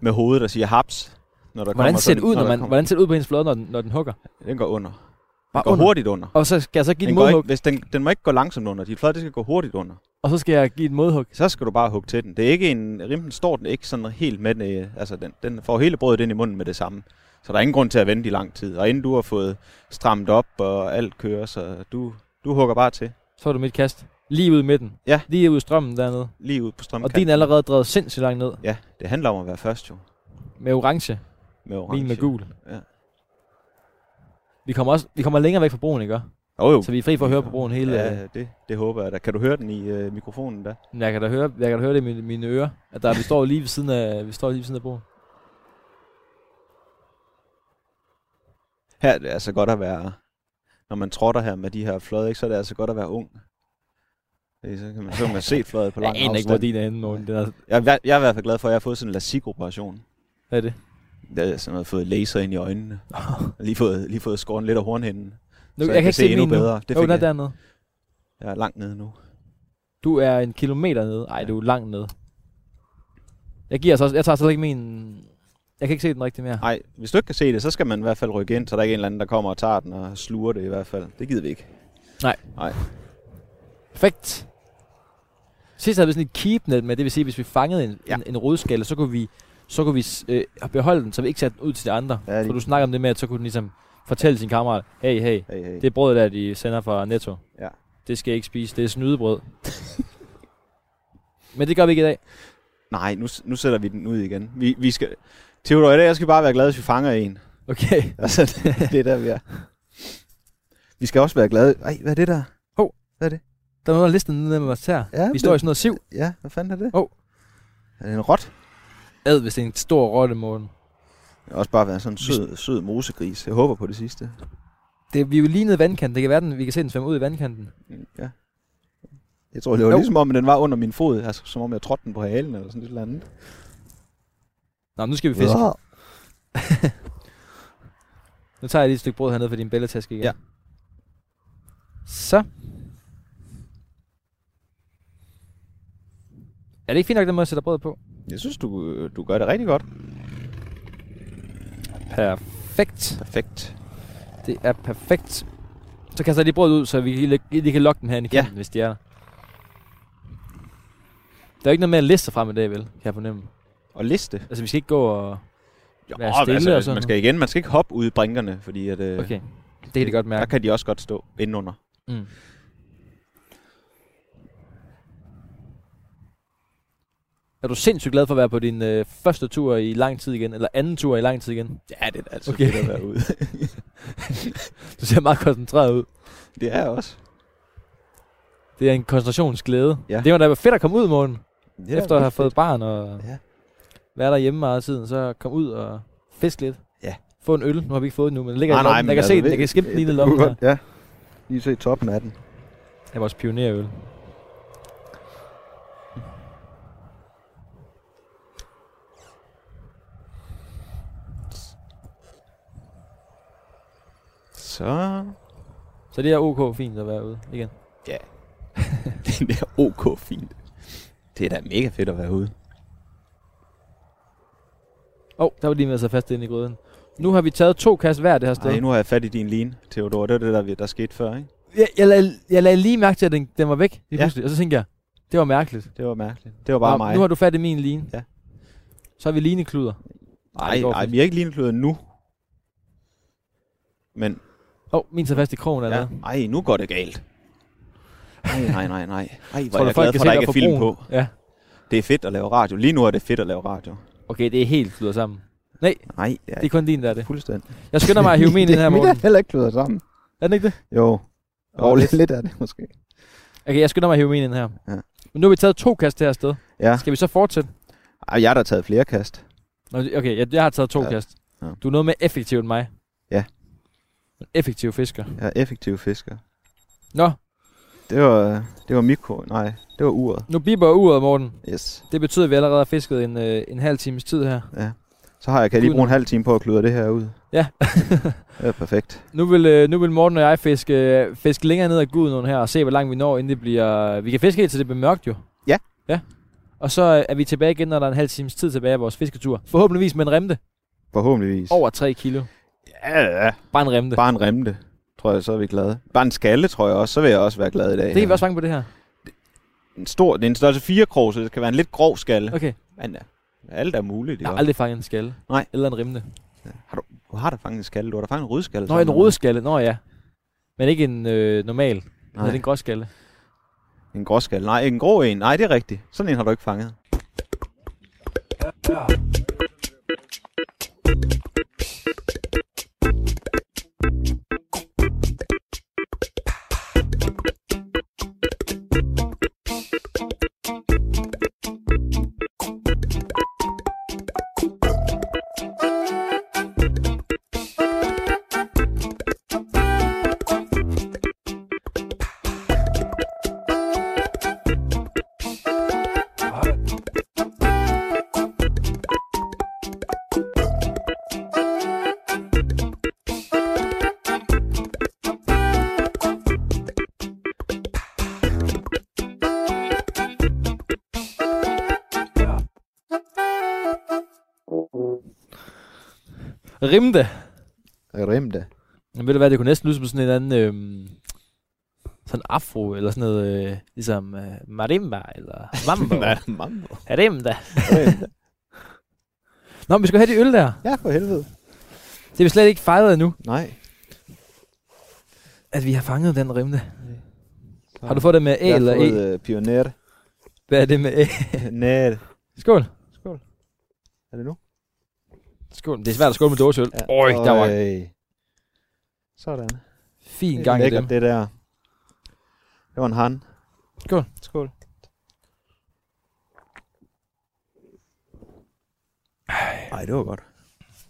med hovedet og siger haps. Når der Hvordan kommer ser det sådan- ud, når der man, kommer- hvordan ser det ud på hendes flod, når den, når den hugger? Den går under. Den Bare går under. hurtigt under. Og så skal jeg så give Den, et går ikke, modhug, hvis den, den må ikke gå langsomt under. Dit flad, det skal gå hurtigt under. og så skal jeg give et modhug. Så skal du bare hugge til den. Det er ikke en... Rimten står den ikke sådan helt med den, øh, Altså, den, den får hele brødet ind i munden med det samme. Så der er ingen grund til at vente i lang tid. Og inden du har fået stramt op, og alt kører, så du, du hugger bare til. Så er du mit kast. Lige ud i midten. Ja. Lige ud i strømmen dernede. Lige ud på strømmen. Og din er allerede drevet sindssygt langt ned. Ja, det handler om at være først jo. Med orange. Med orange. orange. Min med gul. Ja. Vi kommer, også, vi kommer længere væk fra broen, ikke? også? Jo, jo. Så vi er fri for at høre på broen hele... øh, Ja. Ja, det, det håber jeg da. Kan du høre den i øh, mikrofonen der? Jeg kan da høre, jeg kan da høre det i mine, mine ører, at der, vi står lige ved siden af, vi står lige ved siden af broen. Her er det altså godt at være, når man trotter her med de her fløde, ikke, så er det altså godt at være ung. Fordi Så kan man, så kan man se fløjet på Jeg lang aner ikke, hvor afstand. din er henne, Morten. Det er, Jeg, jeg, jeg er i hvert fald glad for, at jeg har fået sådan en lasik-operation. hvad er det. Jeg har sådan noget, fået laser ind i øjnene. lige fået, lige fået skåret lidt af hornhinden. Nu, så jeg, jeg kan, se endnu min nu. bedre. Det jo, fik den er jeg. dernede. jeg er langt nede nu. Du er en kilometer nede. Ej, du er langt nede. Jeg giver så også, jeg tager så ikke min... Jeg kan ikke se den rigtig mere. Nej, hvis du ikke kan se det, så skal man i hvert fald rykke ind, så der ikke er en eller anden, der kommer og tager den og sluger det i hvert fald. Det gider vi ikke. Perfekt. Sidst havde vi sådan et keepnet med, det vil sige, hvis vi fangede en, ja. Ja. en, en rodskalle, så kunne vi, så kunne vi s- øh, beholde den, så vi ikke satte den ud til de andre. Ja, For lige- du snakker om det med, at så kunne den ligesom fortælle sin kammerat, hey, hey, Hey, hey. det brød der, de sender fra Netto, Ja. det skal jeg ikke spise, det er snydebrød. Men det gør vi ikke i dag. Nej, nu, s- nu sætter vi den ud igen. Vi, vi skal... Theodor, i dag skal vi bare være glade, hvis vi fanger en. Okay. Altså, det, det er der, vi er. Vi skal også være glade. Ej, hvad er det der? Der er noget af listen nede med os her. Ja, Vi står i sådan noget siv. Ja, hvad fanden er det? Hov. Er det en rot? Ad, hvis det er en stor rotte, Morten. Det kan også bare være sådan en sød, sød mosegris. Jeg håber på det sidste. Det, vi er jo lige nede i vandkanten. Det kan være, den, vi kan se den svømme ud i vandkanten. Ja. Jeg tror, det var Jo. jo. ligesom om, at den var under min fod. Altså, som om jeg trådte den på halen eller sådan et eller andet. Nå, nu skal vi fiske. Ja. Nu tager jeg lige et stykke brød hernede for din bæltetaske igen. Ja. Så. Er det ikke fint nok, den måde, jeg sætter brødet på? Jeg synes, du, du gør det rigtig godt. Perfekt. Perfekt. Det er perfekt. Så kaster jeg lige brødet ud, så vi lige, lige kan lokke den herinde i Ja. kanten, hvis de er der. Der er jo ikke noget med at liste sig frem i dag, vel? Kan jeg fornemme. Og liste. Altså, vi skal ikke gå og... Jo, Være stille og sådan man skal igen, man skal ikke hoppe ud i brinkerne, fordi at, øh, Okay. Det kan de godt mærke. der kan de også godt stå indenunder. Mm. Er du sindssygt glad for at være på din øh, første tur i lang tid igen? Eller anden tur i lang tid igen? Ja, det er da altså Okay. okay. fedt at være ude. Du ser meget koncentreret ud. det er jeg også. Det er en koncentrationsglæde. Ja. Det var da fedt at komme ud, morgen. Det Ja, efter at have fået barn og ja. Ja. være derhjemme meget af tiden, så kom ud og fisk lidt. Ja. Få en øl. Nu har vi ikke fået den nu, men den ligger i Nej, lommen. nej, men jeg kan altså, se den. ved- Jeg kan skimpe den lige ned i det kunne lommen. her. godt- Ja, lige se toppen af den. Det er vores pionerøl. Så... Så det er ok fint at være ude igen. det er ok fint. Det er da mega fedt at være ude. Åh, oh, der var lige med at sætte fast ind i gryden. Nu har vi taget to kast hver det her sted. Ej, nu har jeg fat i din line, Theodor. Det var det, der, vi- der skete før, ikke? Jeg, jeg, lagde, jeg lagde lige mærke til, at den, den var væk lige Ja. pludselig, og så tænkte jeg, det var mærkeligt. Det var mærkeligt. Det var bare Nå, mig. Nu har du fat i min line. Ja. Så har vi linekluder. Ej, Nej, det går nej, fint. vi er ikke linekløder nu. Men, Åh, oh, min tager fast i krogen ja. allerede. Ej, nu går det galt. Nej, nej, nej, nej. Ej, Tror hvor er du, jeg folk glad kan for, se, at der der ikke er er film på. forbrugen? Ja. Det er fedt at lave radio. Lige nu er det fedt at lave radio. Okay, det er helt kluder sammen. Nej, Nej, det er det er kun din, der er det. fuldstændig. Jeg skynder mig at hive min ind her, Morten. heller ikke kludret sammen. Er den ikke det? Jo, Åh, lidt. lidt af det måske. Okay, jeg skynder mig at hive min ind her. Ja. Men nu har vi taget to kast det her sted. Ja, Skal vi så fortsætte? Ej, jeg har da taget flere kast. Nå, Okay, jeg, jeg har taget to Ja. kast. Ja. Du er noget mere effektiv end mig. Ja. En effektiv fisker. Jeg er effektiv fisker. Nå, Det var, det var mikro... Nej, det var uret. nu biber uret, Morten. Yes. Det betyder, at vi allerede har fisket en, øh, en halv times tid her. Ja. Så har jeg, kan jeg lige bruge en halv time på at kludre det her ud. Ja. det er perfekt. Nu vil, øh, nu vil Morten og jeg fiske, øh, fiske længere ned ad Gudenåen her og se, hvor langt vi når, inden det bliver... øh, Vi kan fiske helt til det bliver mørkt jo. Ja. Ja. Og så øh, er vi tilbage igen, når der er en halv times tid tilbage af vores fisketur. Forhåbentligvis med en remte. Forhåbentligvis. Over 3 kilo. Ja, ja. Bare en remte. Bare en remte, tror jeg, så er vi glade. Bare en skalle, tror jeg også, så vil jeg også være glad i dag. det kan vi også fange på det her. En stor, det er en størrelse 4 krog, så det skal være en lidt grov skalle. Okay. Men ja, alt er muligt. Jeg Ja, har aldrig fanget en skalle. Nej. Eller en remte. Du har da fanget en skalle, du har da fanget en rødskalle. Nå, en rødskalle. Nå ja. Men ikke en øh, normal. Nej. Nej, det er en gråskalle. en gråskalle. Nej, ikke en grå en. Nej, det er rigtigt. Sådan en har du ikke fanget. Rimda. Rimte. Men ved du hvad, det kunne næsten lyde som sådan en anden... Øh, sådan afro, eller sådan noget, øh, ligesom øh, marimba, eller mambo. Mambo. Rimda. Nå, men vi skal have de øl der. Ja, for helvede. Det er vi slet ikke fejret endnu, Nej. at vi har fanget den rimde. Har du fået det med A Jeg har eller E? fået, øh, Pioner. Hvad er det med E? Nær. Skål. Er det nu? Skål. Det er svært at skåle med dåseøl. Ja. Øj, der var en Øj. Sådan. fin det er gang i lækkert, dem. det der. Det var en han. Skål. Skål. Ej, det var godt.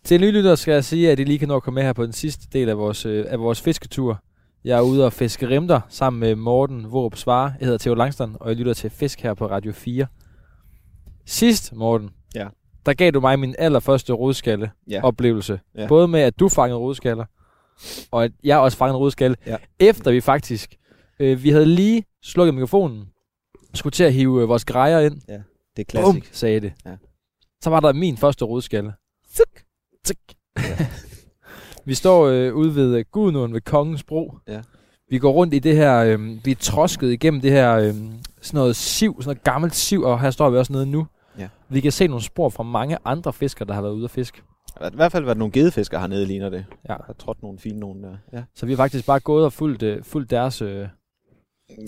Til nylyttere skal jeg sige, at I lige kan nå at komme med her på den sidste del af vores, øh, af vores fisketur. Jeg er ude og fiske rimter sammen med Morten Vorup Svare. Jeg hedder Theo Langstrand, og jeg lytter til Fisk her på Radio 4. Sidst, Morten, Ja. der gav du mig min allerførste rodskalle Ja. oplevelse. Ja. Både med, at du fangede rodskaller, og at jeg også fangede en rodskalle, Ja. efter vi faktisk... Øh, vi havde lige slukket mikrofonen, skulle til at hive øh, vores grejer ind, Det er Bum, klassik. sagde det. Ja. Ja. Så var der min første rodskalle. Tuk, tuk. vi står øh, ude ved øh, Gudnåen ved Kongens Bro. Ja. Vi går rundt i det her, øh, vi er trosket igennem det her øh, sådan noget siv, sådan noget gammelt siv, og her står vi også nede nu. Ja. Vi kan se nogle spor fra mange andre fiskere, der har været ude at fiske. I hvert fald var der nogle gedefisker hernede, ligner det. Ja. Der er trådt nogle fine nogen der. Ja. Så vi har faktisk bare gået og fulgt, øh, fulgt deres... Øh,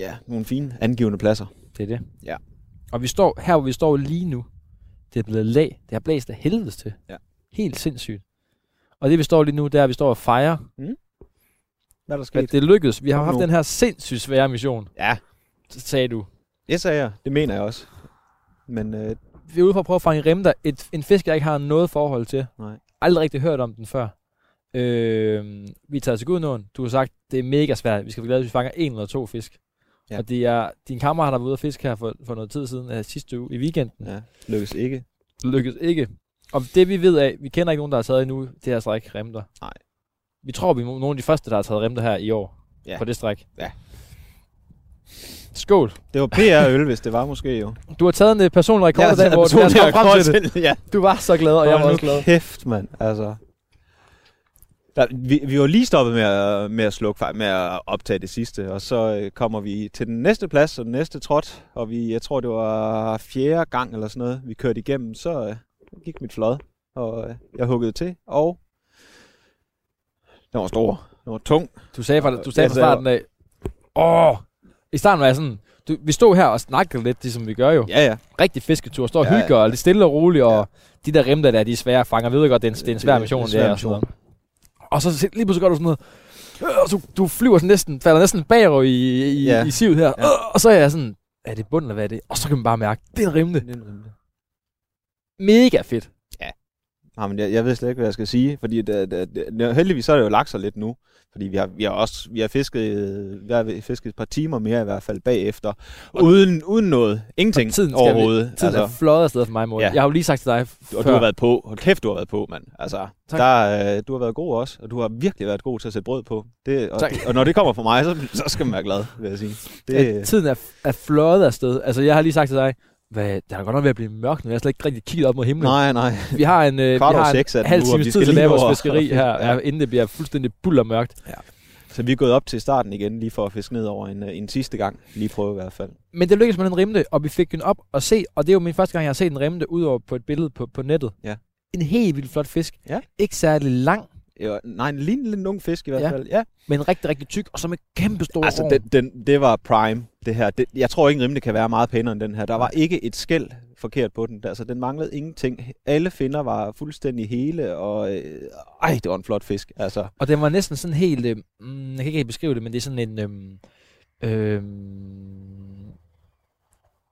ja, nogle fine angivende pladser. det er det. Ja. Og vi står, her hvor vi står lige nu, det er blevet lag. Det har blæst af helvedes til. Ja. Helt sindssygt. Og det vi står lige nu, det er, at vi står og fejrer Hvad er der at det lykkedes. Vi har Kom haft nu. den her sindssygt svære mission, Ja, sagde du. det sagde jeg. Det mener jeg også. Men øh, Vi er ude for at prøve at fange remter. Et, en fisk, jeg ikke har noget forhold til. Nej. Aldrig rigtig hørt om den før. Øh, vi tager til Gudnåen. Du har sagt, det er mega svært. Vi skal være glade, hvis vi fanger en eller to fisk. Ja. Ja. Og det er, din kammerat har været ude at fiske her for, for noget tid siden, øh, sidste uge i weekenden. ja, lykkes ikke. Lykkedes ikke. Og det vi ved af, vi kender ikke nogen, der har taget endnu det her stræk remter. Nej. Vi tror, vi er nogle af de første, der har taget remter her i år. Ja. På det stræk. Ja. Skål. Det var PR-øl, hvis det var måske jo. Du har taget en øh, personlig rekord i dag, hvor du har kommet frem til det. Ja, Du var så glad, og jeg var Hold også glad. nu kæft, mand. Altså. Der, vi, vi var lige stoppet med at, med at slukke fejl, med at optage det sidste, og så øh, kommer vi til den næste plads og den næste trot, og vi, jeg tror, det var fjerde gang eller sådan noget, vi kørte igennem, så øh, gik mit flod, og øh, jeg huggede til, og den var stor, den var tung. Du sagde fra, du sagde Jeg fra sagde- starten af, åh, i starten var jeg sådan, du, vi stod her og snakkede lidt, ligesom vi gør jo. Ja. Ja, ja. Rigtig fisketur, står og Ja, ja. hygger, og lidt stille og roligt, og de der rimter der, de er svære at fange, og vi ved godt, det er en, det er en svær mission, det, svær er, og sådan noget. Og så se- lige pludselig gør du sådan noget, øh, og så du flyver sådan næsten, falder næsten bagrøv i, i, Ja. ja. i sivet her, Ja. øh, og så er jeg sådan, er det bunden eller hvad er det? Og så kan man bare mærke, det er en rimte. mission. Mega fedt. Nej, men jeg, jeg ved slet ikke, hvad jeg skal sige, fordi det, det, det, heldigvis så er det jo lagt sig lidt nu, fordi vi har, vi har også vi har fisket, øh, vi har fisket et par timer mere i hvert fald bagefter, uden, uden noget, ingenting Og tiden skal vi- overhovedet. Tiden altså, er fløjet afsted for mig, Morten. Ja. Ja. Jeg har jo lige sagt til dig og du før, har været på, hold kæft, du har været på, mand. Altså, Tak. der, øh, du har været god også, og du har virkelig været god til at sætte brød på. Det, og, Tak. og når det kommer fra mig, så, så skal man være glad, vil jeg sige. at Det, tiden er, er fløjet afsted. Altså, jeg har lige sagt til dig, hvad, der er godt nok ved at blive mørkt nu. Jeg har slet ikke rigtig kigget op mod himlen. nej, nej. Vi har en, øh, vi Kvart over har en seks er den halv nu, og times vi tid skal til lige vores over- fiskeri her, Ja. ja. inden det bliver fuldstændig bullermørkt. Så vi er gået op til starten igen, lige for at fiske ned over en, øh, en sidste gang. Lige prøve i hvert fald. Men det lykkedes med den rimte, og vi fik den op og se, og det er jo min første gang, jeg har set en rimte ud over på et billede på, på nettet. Ja. En helt vildt flot fisk. Ja. Ikke særlig lang, Jo, Øh, nej, en lille, lille ung fisk i hvert Ja. fald. Ja, men rigtig, rigtig tyk, og så med kæmpe store Altså, år. den, den, det var prime, det her. Det, jeg tror ikke, rimelig kan være meget pænere end den her. Der var ikke et skæld forkert på den. Altså, den manglede ingenting. Alle finder var fuldstændig hele, og øh, ej, det var en flot fisk. Altså, Og den var næsten sådan helt, øh, mm, jeg kan ikke helt beskrive det, men det er sådan en, øhm, øhm,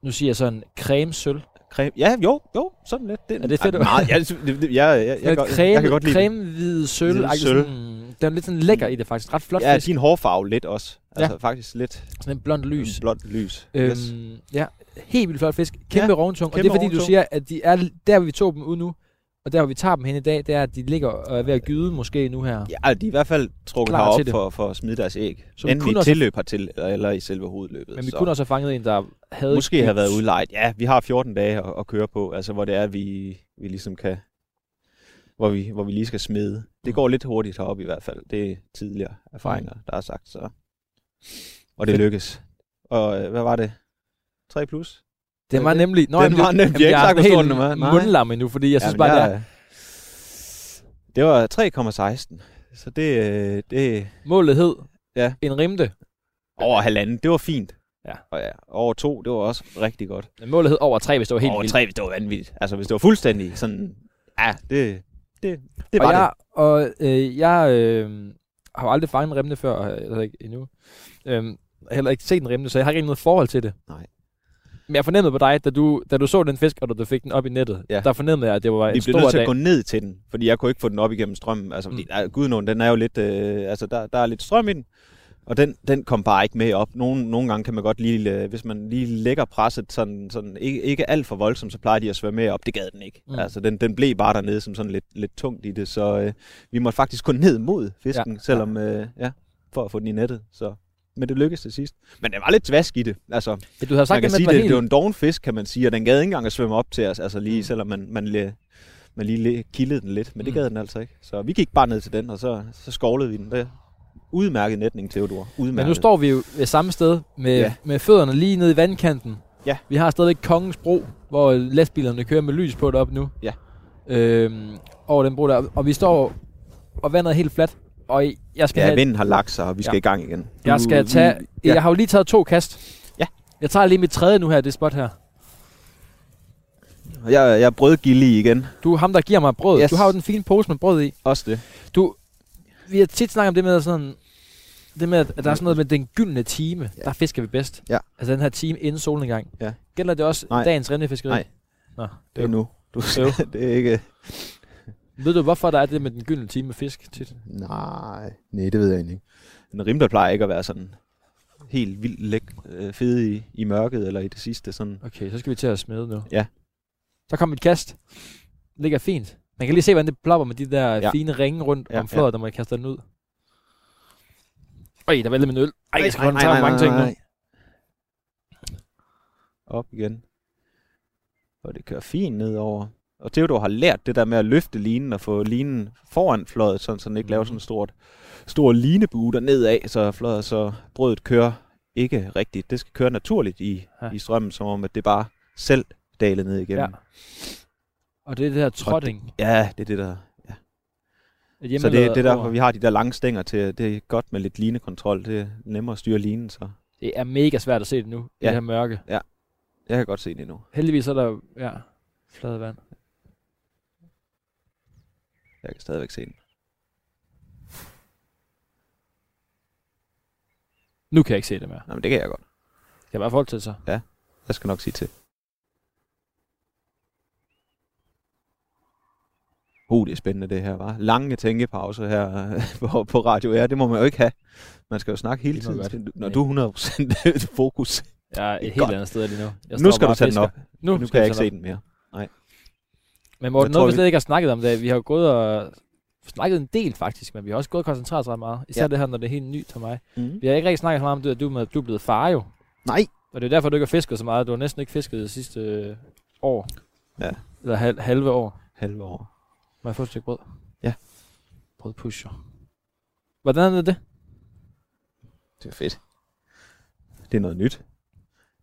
nu siger jeg sådan, creme sølv. creme. Ja, jo, jo, sådan lidt. Det, Er det fedt, Ej, du- meget, jeg, det, det, jeg, jeg, jeg, jeg, Jeg, godt- creme, jeg kan godt lide den. creme-hvid sølv. Hvid agtig sølv. Sådan, den er lidt sådan lækker i det faktisk. Ret flot Ja, fisk. din hårfarve lidt også. Altså, faktisk lidt Sådan en blond lys. blåt lys. Øhm, Yes. Ja, helt vildt flot fisk. Kæmpe ja, Ja, rovntung. Og det kæmpe er fordi, du rovntung. siger, at de er der, hvor vi tog dem ud nu, og der, hvor vi tager dem hen i dag, det er, at de ligger og er ved at gyde måske nu her. Ja, de er i hvert fald trukket Klar til herop det. for, for at smide deres æg. Så Så vi Enten i kunne også- tilløb hertil, eller, eller i selve hovedløbet. Men vi så. kunne også have fanget en, der havde... Måske have været udlejet. Ja, vi har 14 dage at, at køre på, altså hvor det er, at vi, vi ligesom kan hvor vi, hvor vi lige skal smide. Det går lidt hurtigt heroppe i hvert fald. Det er tidligere erfaringer, der er sagt. Så. Og det Fedt. lykkes. Og øh, hvad var det? 3 plus? Den var det? nemlig... Nå, Den jamen, var det- nemlig- jamen, jeg har ikke jeg er sagt, hvor stor den helt var. Nej. mundlam endnu, fordi jeg synes Jamen, bare, det er... Det var 3,16. Så det, øh, det Målet hed Ja. en rimte. over halvanden, det var fint. Ja. Og ja, over to, det var også rigtig godt. Men Målet hed over tre, hvis det var helt over vildt. tre, det var vanvittigt. Altså, hvis det var fuldstændig sådan... Ja, det, det, det var og det. jeg, Og øh, jeg øh, har jo aldrig fanget en remne før, og heller ikke endnu. Øhm, heller ikke set en remne, så jeg har ikke rigtig noget forhold til det. Nej. Men jeg fornemmede på dig, da du, da du så den fisk, og da du fik den op i nettet, Ja. der fornemmede jeg, at det var Vi en blev nødt stor til at dag. gå ned til den, fordi jeg kunne ikke få den op igennem strømmen. Altså, fordi, Mm. mm. Gudnåen, den er jo lidt... Øh, altså, der, der er lidt strøm i den, og den, den kom bare ikke med op. Nogle, nogle gange kan man godt lige... øh, Hvis man lige lægger presset sådan, sådan ikke, ikke alt for voldsomt, så plejer de at svømme med op. Det gad den ikke. Mm. Mm. Altså, den, den blev bare dernede som sådan lidt, lidt tungt i det, så øh, vi måtte faktisk gå ned mod fisken, ja. selvom... Øh, ja, for at få den i nettet, så... Men det lykkedes til sidst. Men det var lidt tvask i det. Altså, Ja, du havde sagt, man kan at den sige, var det, helt... det var en doven fisk, kan man sige, og den gad ikke engang at svømme op til os, altså lige, selvom man, man, lige, man lige le- kildede den lidt, men det Mm. gad den altså ikke. Så vi gik bare ned til den, og så, så skovlede vi den. Det udmærket netning, Theodor. Udmærket. Men nu står vi jo ved samme sted med, ja. Ja. med fødderne lige nede i vandkanten. Ja. Vi har stadigvæk Kongens Bro, hvor lastbilerne kører med lys på deroppe nu. Ja. Øhm, over den bro der. Og vi står, og vandet er helt fladt. Og jeg skal Ja, have, vinden har lagt sig, og vi skal Ja. i gang igen. jeg skal tage... Ja. ja. Jeg har jo lige taget to kast. Ja. Jeg tager lige mit tredje nu her, det spot her. Og Jeg, jeg er brødgillig igen. Du er ham, der giver mig brød. Yes. Du har jo den fine pose med brød i. Også det. Vi har tit snakket om det med sådan... Det med, at der er sådan noget med den gyldne time, ja. der fisker vi bedst. Ja. Altså den her time inden solnedgang. Ja. Gælder det også Nej. dagens rendefiskeri? Nej. Nå, Det er nu. Du, Øv. det er ikke... Ved du, hvorfor der er det med den gyldne time med fisk tit? Nej, nej, det ved jeg egentlig ikke. En rimler plejer ikke at være sådan helt vildt læk, øh, fed i, i mørket eller i det sidste. Sådan. Okay, så skal vi til at smede nu. Ja. Så kom et kast. Ligger fint. Man kan lige se, hvordan det plopper med de der ja. Ja. fine ringe rundt ja, Ja, om flådet, ja. når man kaster den ud. Øj, der vælter min øl. Ej, jeg skal håndtere mange ting nu. Op igen. Og det kører fint nedover. Og Theodor har lært det der med at løfte linen og få linen foran fløjet, sådan, så den ikke laver Mhm. sådan en stort, stor linebue der nedad, så fløjet så brødet kører ikke rigtigt. Det skal køre naturligt i, Ja. ja. i strømmen, som om at det bare selv dalede ned Ja. igennem. Og det er det her trotting. Ja, ja det er det der. et så det, hjemmelavet det er derfor, ord. vi har de der lange stænger til. Det er godt med lidt linekontrol. Det er nemmere at styre linen, så Det er mega svært at se det nu, ja. i Ja. det her mørke. jeg kan godt se det nu. Heldigvis er der ja, flade vand. Jeg kan stadigvæk se den. Nu kan jeg ikke se det mere. Nå, men det kan jeg godt. Skal jeg bare forholde til sig? Jeg skal nok sige til. Uh, det er spændende det her, var. Lange tænkepauser her på, på Radio R, det må man jo ikke have. Man skal jo snakke hele Det må godt. tiden, til- når du er 100% fokus. Jeg er et Det er helt godt. andet sted lige nu. Jeg Nu står skal bare du og tage den fisker. op. Nu, Nu skal kan vi jeg tage ikke den op. se den mere. Men Morten, Jeg noget tror, vi vi- slet ikke har snakket om, det er, at vi har jo gået og snakket en del faktisk, men vi har også gået og koncentreret os ret meget. Især ja. Ja. det her, når det er helt nyt for mig. Mm. Vi har ikke rigtig snakket så meget om det, at du, med, du er blevet far jo. Nej, Og det er derfor, du ikke har fisket så meget. Du har næsten ikke fisket det sidste øh, år. Ja. Eller hal- halve år. halve år. Må jeg få et stykke brød? Ja. Brød pusher. Hvordan er det? Det er fedt. Det er noget nyt.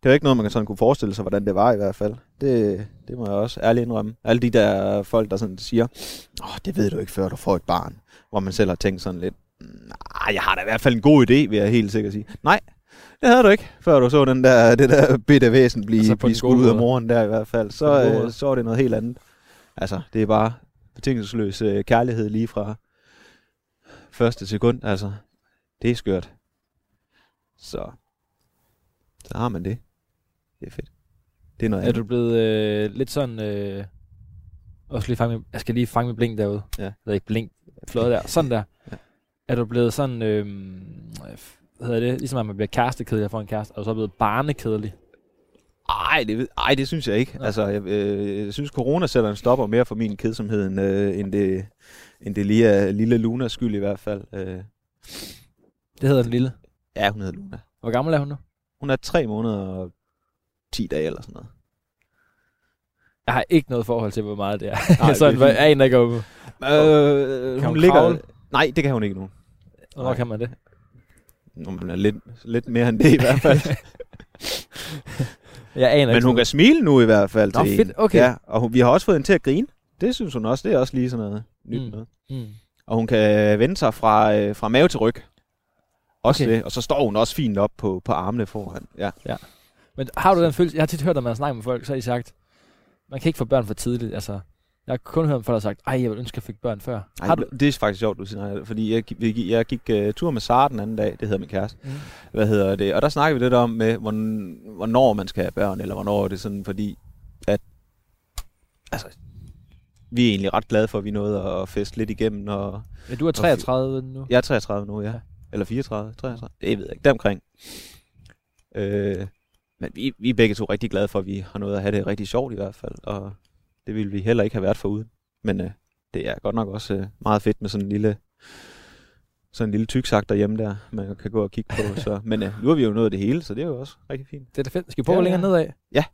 Det er jo ikke noget, man kan sådan kunne forestille sig, hvordan det var i hvert fald. Det, det må jeg også ærligt indrømme. Alle de der folk, der sådan siger, Åh, det ved du ikke, før du får et barn. Hvor man selv har tænkt sådan lidt, nej, jeg har da i hvert fald en god idé, vil jeg helt sikkert sige. Nej, det havde du ikke, før du så den der, det der bitte væsen blive, Altså altså på blive den gode skudt ud af måde. moren der i hvert fald. På den Så, gode måde. øh, så er det noget helt andet. Altså, det er bare betingelsesløs øh, kærlighed lige fra første sekund. Altså, det er skørt. Så, så har man det. Det er fedt. Det er noget Er andet. du blevet øh, lidt sådan... Øh, også lige fange, min- jeg skal lige fange min blink derude. Ja. Eller ikke blink, flot der. Sådan der. ja. Ja. Er du blevet sådan... Øh, hvad hedder det? Ligesom at man bliver kærestekedelig for en kæreste. Er du så blevet barnekedelig? Ej, det, ved- ej, det synes jeg ikke. Nej. Altså, jeg, øh, jeg synes, corona sætter en stopper mere for min kedsomhed, end, øh, end, det, end det lige er lille Lunas skyld i hvert fald. Øh, Det hedder den lille. ja, hun hedder Luna. Hvor gammel er hun nu? Hun er tre måneder og 10 dage eller sådan noget. Jeg har ikke noget forhold til, hvor meget det er. Nej, Nej, Sådan, det er hvad fint. er en, der går på. Kan Øh, hun hun ligger... kravle? Nej, det kan hun ikke nu. Hvornår kan man det? Nå, men hun er lidt, lidt mere end det i hvert fald. Jeg aner men ikke. hun kan smile nu i hvert fald Nå, til fedt, en. okay. Ja, og hun, vi har også fået hende til at grine. Det synes hun også. Det er også lige sådan noget nyt Mm. mm. noget. Mm. Og hun kan vende sig fra, øh, fra mave til ryg. Også Okay. okay. det. Og så står hun også fint op på, på armene foran. Ja. Men har du den følelse? Jeg har tit hørt, når man snakker med folk, så har de sagt, man kan ikke få børn for tidligt. Altså, jeg har kun hørt om folk, der har sagt, ej, jeg ville ønske, jeg fik børn før. Ej, har du? Det er faktisk sjovt, du siger, nej, fordi jeg, gi- vi gi- jeg gik uh, tur med Sara den anden dag, det hedder min kæreste, Mm. mm. hvad hedder det, og der snakkede vi lidt om, med, hvorn- hvornår man skal have børn, eller hvornår er det sådan, fordi at, altså, vi er egentlig ret glade for, at vi nåede at feste lidt igennem, og Ja, du er 33 nu. jeg er 33 nu, ja. Eller 34, 33, det ved jeg ikke, deromkring. Øh, men vi, vi er begge to rigtig glade for, at vi har nået at have det rigtig sjovt i hvert fald, og det ville vi heller ikke have været foruden. Men øh, det er godt nok også øh, meget fedt med sådan en lille sådan en lille tyksak derhjemme der, man kan gå og kigge på. Så. Men øh, nu har vi jo nået det hele, så det er jo også rigtig fint. Det er da fedt. Skal vi prøve ja, Ja, længere ja. nedad? Ja.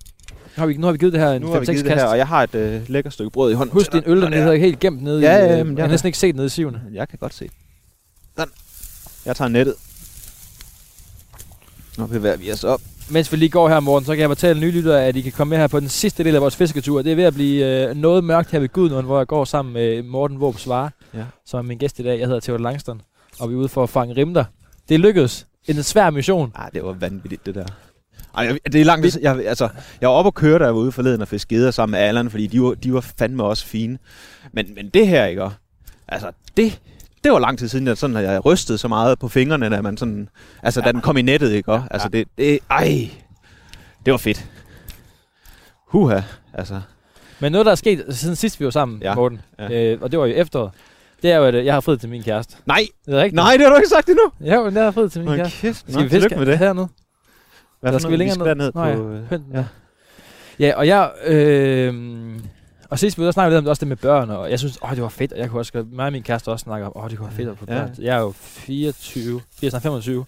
Nu har vi, nu har vi givet det her en Nu har vi 5-6 givet det her, kast. og jeg har et øh, lækkert stykke brød i hånden. Husk, det er en øl, den hedder helt gemt nede Ja, i... ja, øh, jamen, jeg ja, har ja. næsten ikke set nede i sivene. Jeg kan godt se. Sådan. Jeg tager nettet. Nu bevæger vi os op. Mens vi lige går her, Morten, så kan jeg fortælle nye lyttere, at I kan komme med her på den sidste del af vores fisketur. Det er ved at blive øh, noget mørkt her ved Gudnåen, hvor jeg går sammen med Morten Våb Svare, ja. Ja. som er min gæst i dag. Jeg hedder Theodor Langston, og vi er ude for at fange rimter. Det lykkedes. En svær mission. Ej, det var vanvittigt, det der. Ej, jeg- det er langt. Jeg, altså, jeg var oppe og køre, da jeg var ude forleden og fiske geder sammen med Allan, fordi de var, de var fandme også fine. Men, men det her, ikke? Altså, det, det var lang tid siden, at sådan, at jeg rystede så meget på fingrene, da, man sådan, altså, ja. da den kom i nettet, ikke? Ja. Altså, det, det, ej, det var fedt. Huha, altså. Men noget, der er sket siden sidst, vi var sammen, ja. Ja. Morten, ja. Ja. Øh, og det var jo i efteråret, det er jo, at øh, jeg har frid til min kæreste. Nej, Det er rigtigt. nej, det har du ikke sagt endnu. Jo, men jeg har frid til min Nå, kæreste. kæft, Skal vi fiske med det. hernede? Hvad Eller for skal noget? vi længere skal ned? ned Nå ja, på... øh, Hønden. Ja. ja. ja, og jeg... Øh, og sidst vi var snakkede vi lidt om det, også det med børn, og jeg synes, åh, det var fedt, og jeg kunne også godt, mig og min kæreste også snakke om, åh, det kunne være fedt at få Ja. børn. Jeg er jo 24, 24 25,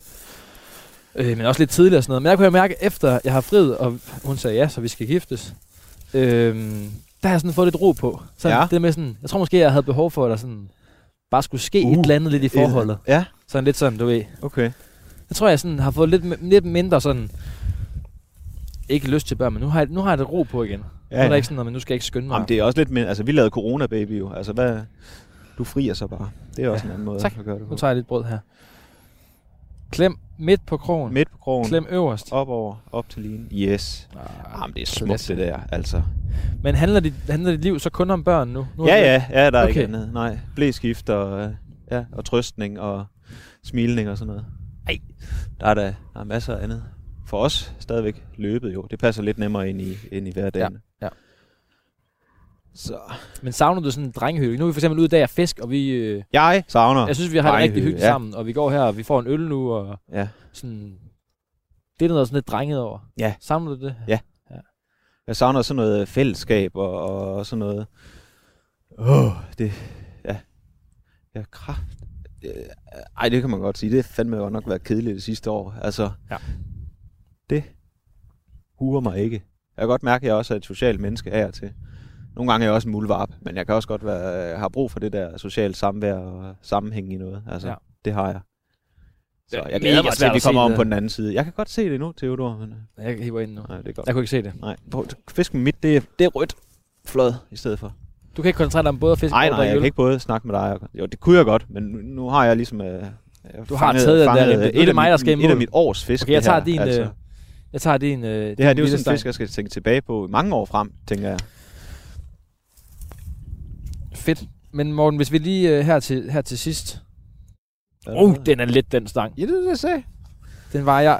øh, men også lidt tidligere og sådan noget. Men jeg kunne jo mærke, efter jeg har friet, og hun sagde ja, så vi skal giftes, øh, der har jeg sådan fået lidt ro på. Sådan, Ja. det med sådan, jeg tror måske, jeg havde behov for, at der sådan bare skulle ske uh, Uh, et eller andet lidt i forholdet. Ja, Sådan lidt sådan, du ved, okay. jeg tror, jeg sådan har fået lidt, mi- lidt mindre sådan... Ikke lyst til børn, men nu har jeg, nu har jeg det ro på igen. Ja, ja. Nu er der ikke sådan noget, men nu skal jeg ikke skynde mig. Jamen, det er også lidt mere... Altså, vi lavede Corona Baby jo. Altså, hvad... Du frier så bare. Det er også Ja. ja. en anden måde Tak. at gøre det Nu på. tager jeg lidt brød her. Klem midt på krogen. Midt. Midt på krogen. Klem øverst. Ah. Op over. Op til linjen. Yes. Jamen, det er smukt, det der, altså. Men handler dit, handler dit liv så kun om børn nu? nu er Ja, det- ja, ja, der er okay. Okay. ikke andet. Nej, blæskift og, øh, ja, og trøstning og smilning og sådan noget. Ej, der er da der er masser af andet. For os stadigvæk løbet jo. Det passer lidt nemmere ind i, ind i hverdagen. Ja, ja. Så Men savner du sådan en drengehøl? Nu er vi for eksempel ude i dag og fisk, og vi... Øh, jeg savner. jeg synes, vi har det rigtig drengehygge, hyggeligt ja. ja. sammen, og vi går her, og vi får en øl nu, og Ja. sådan... Det er noget sådan lidt drenget over. Ja. Savner du det? Jeg savner sådan noget øh, fællesskab og, og sådan noget. Åh, oh, det... Ja. Ja, kraft. øh, Ej, det kan man godt sige. Det er fandme godt nok været kedeligt det sidste år. Altså, Ja. det huer mig ikke. Jeg kan godt mærke, at jeg også er et socialt menneske af og til. Nogle gange er jeg også en mulvarp, men jeg kan også godt være, jeg har brug for det der sociale samvær og sammenhæng i noget. Altså, Ja. ja. det har jeg. Så Det er jeg glæder mega mig til, svært at vi at se kommer om det. på den anden side. Jeg kan godt se det nu, Theodor, men øh, Jeg hiver ind nu. nej, det er godt. Jeg kunne ikke se det. Nej, på, fisk med midt, det er, det er rødt flod i stedet for. Du kan ikke koncentrere dig om både at fiske Nej, og nej, jeg drikke kan øl. ikke både snakke med dig. Og, jo, det kunne jeg godt, men nu, nu har jeg ligesom... Øh, jeg Du har taget den der ribbe. Nu er et, det af mig, mit- der skal i et mål. af mit års fisk. Okay, jeg det tager her, din, øh, Jeg tager din... Øh, det her det er jo sådan en fisk, jeg skal tænke tilbage på i mange år frem, tænker jeg. Fedt. Men Morten, hvis vi lige øh, her, til, her til sidst... Er der Uh, noget? den er let, den stang. Ja, det er det, jeg sagde. Den vejer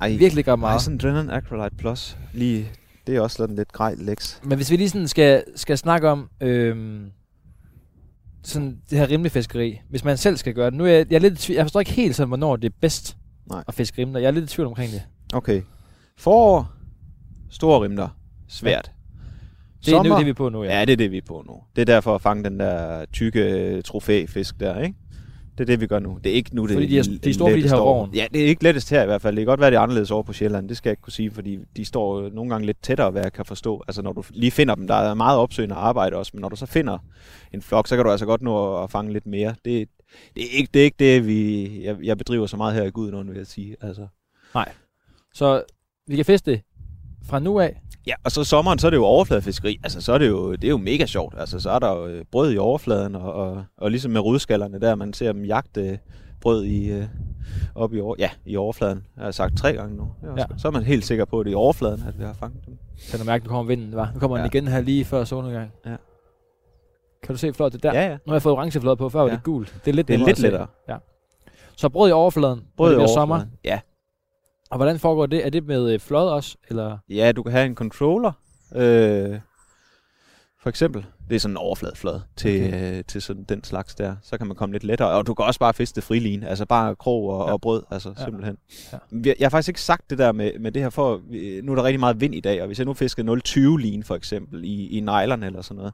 Ej, virkelig godt meget. Ej, meget. sådan Drennan Acrolite Plus. Lige, det er også sådan lidt grej leks. Men hvis vi lige sådan skal, skal snakke om... Øhm, sådan det her rimelig fiskeri. Hvis man selv skal gøre det. Nu er jeg, jeg, er lidt i tvivl, jeg forstår ikke helt sådan, hvornår det er bedst Nej. at fiske rimler. Jeg er lidt i tvivl omkring det. Okay. Forår. Store rimler. Svært. Det er nu, det vi er på nu, ja. Ja, det er det, vi er på nu. Det er derfor at fange den der tykke øh, trofæfisk der, ikke? Det er det, vi gør nu. Det er ikke nu, det Fordi de er- de er store, fordi de letteste har år. roven. Ja, det er ikke lettest her i hvert fald. Det kan godt være, det er anderledes over på Sjælland. Det skal jeg ikke kunne sige, fordi de står øh, nogle gange lidt tættere, hvad jeg kan forstå. Altså når du lige finder dem, der er meget opsøgende arbejde også, men når du så finder en flok, så kan du altså godt nå at- at fange lidt mere. Det, det, er, ikke, det er ikke det, vi, jeg, jeg bedriver så meget her i Gudenund, vil jeg sige. Altså. Så vi kan feste fra nu af. Ja, og så sommeren, så er det jo overfladefiskeri. Altså, så er det jo, det er jo mega sjovt. Altså, så er der jo øh, brød i overfladen, og, og, og ligesom med rudskallerne der, man ser dem jagte brød i, øh, op i, over, ja, i overfladen. Jeg har sagt tre gange nu. Ja. Ja. Så, så er man helt sikker på, at det er i overfladen, at vi har fanget dem. Kan du mærke, nu kommer vinden, var? Nu kommer den Ja. igen her lige før solnedgang. Ja. Kan du se flot det der? Ja, ja. Nu har jeg fået orange flot på, før var Ja. det gult. Det er lidt, Det er nemmere lidt at se. lettere. Så brød i overfladen, brød Brød når i det bliver overfladen. sommer. Ja. Og hvordan foregår det? Er det med øh, flod også? Eller? ja, du kan have en controller. Øh, for eksempel. Det er sådan en overfladeflad til, okay. øh, til sådan den slags der. Så kan man komme lidt lettere. Og du kan også bare fiske det friline. Altså bare krog og, Ja. ja. og brød. Altså Ja. ja. simpelthen. Ja. Ja. Jeg har faktisk ikke sagt det der med, med det her for... vi- Nu er der rigtig meget vind i dag. Og hvis jeg nu fiskede 0,20 line for eksempel i, i neglerne eller sådan noget.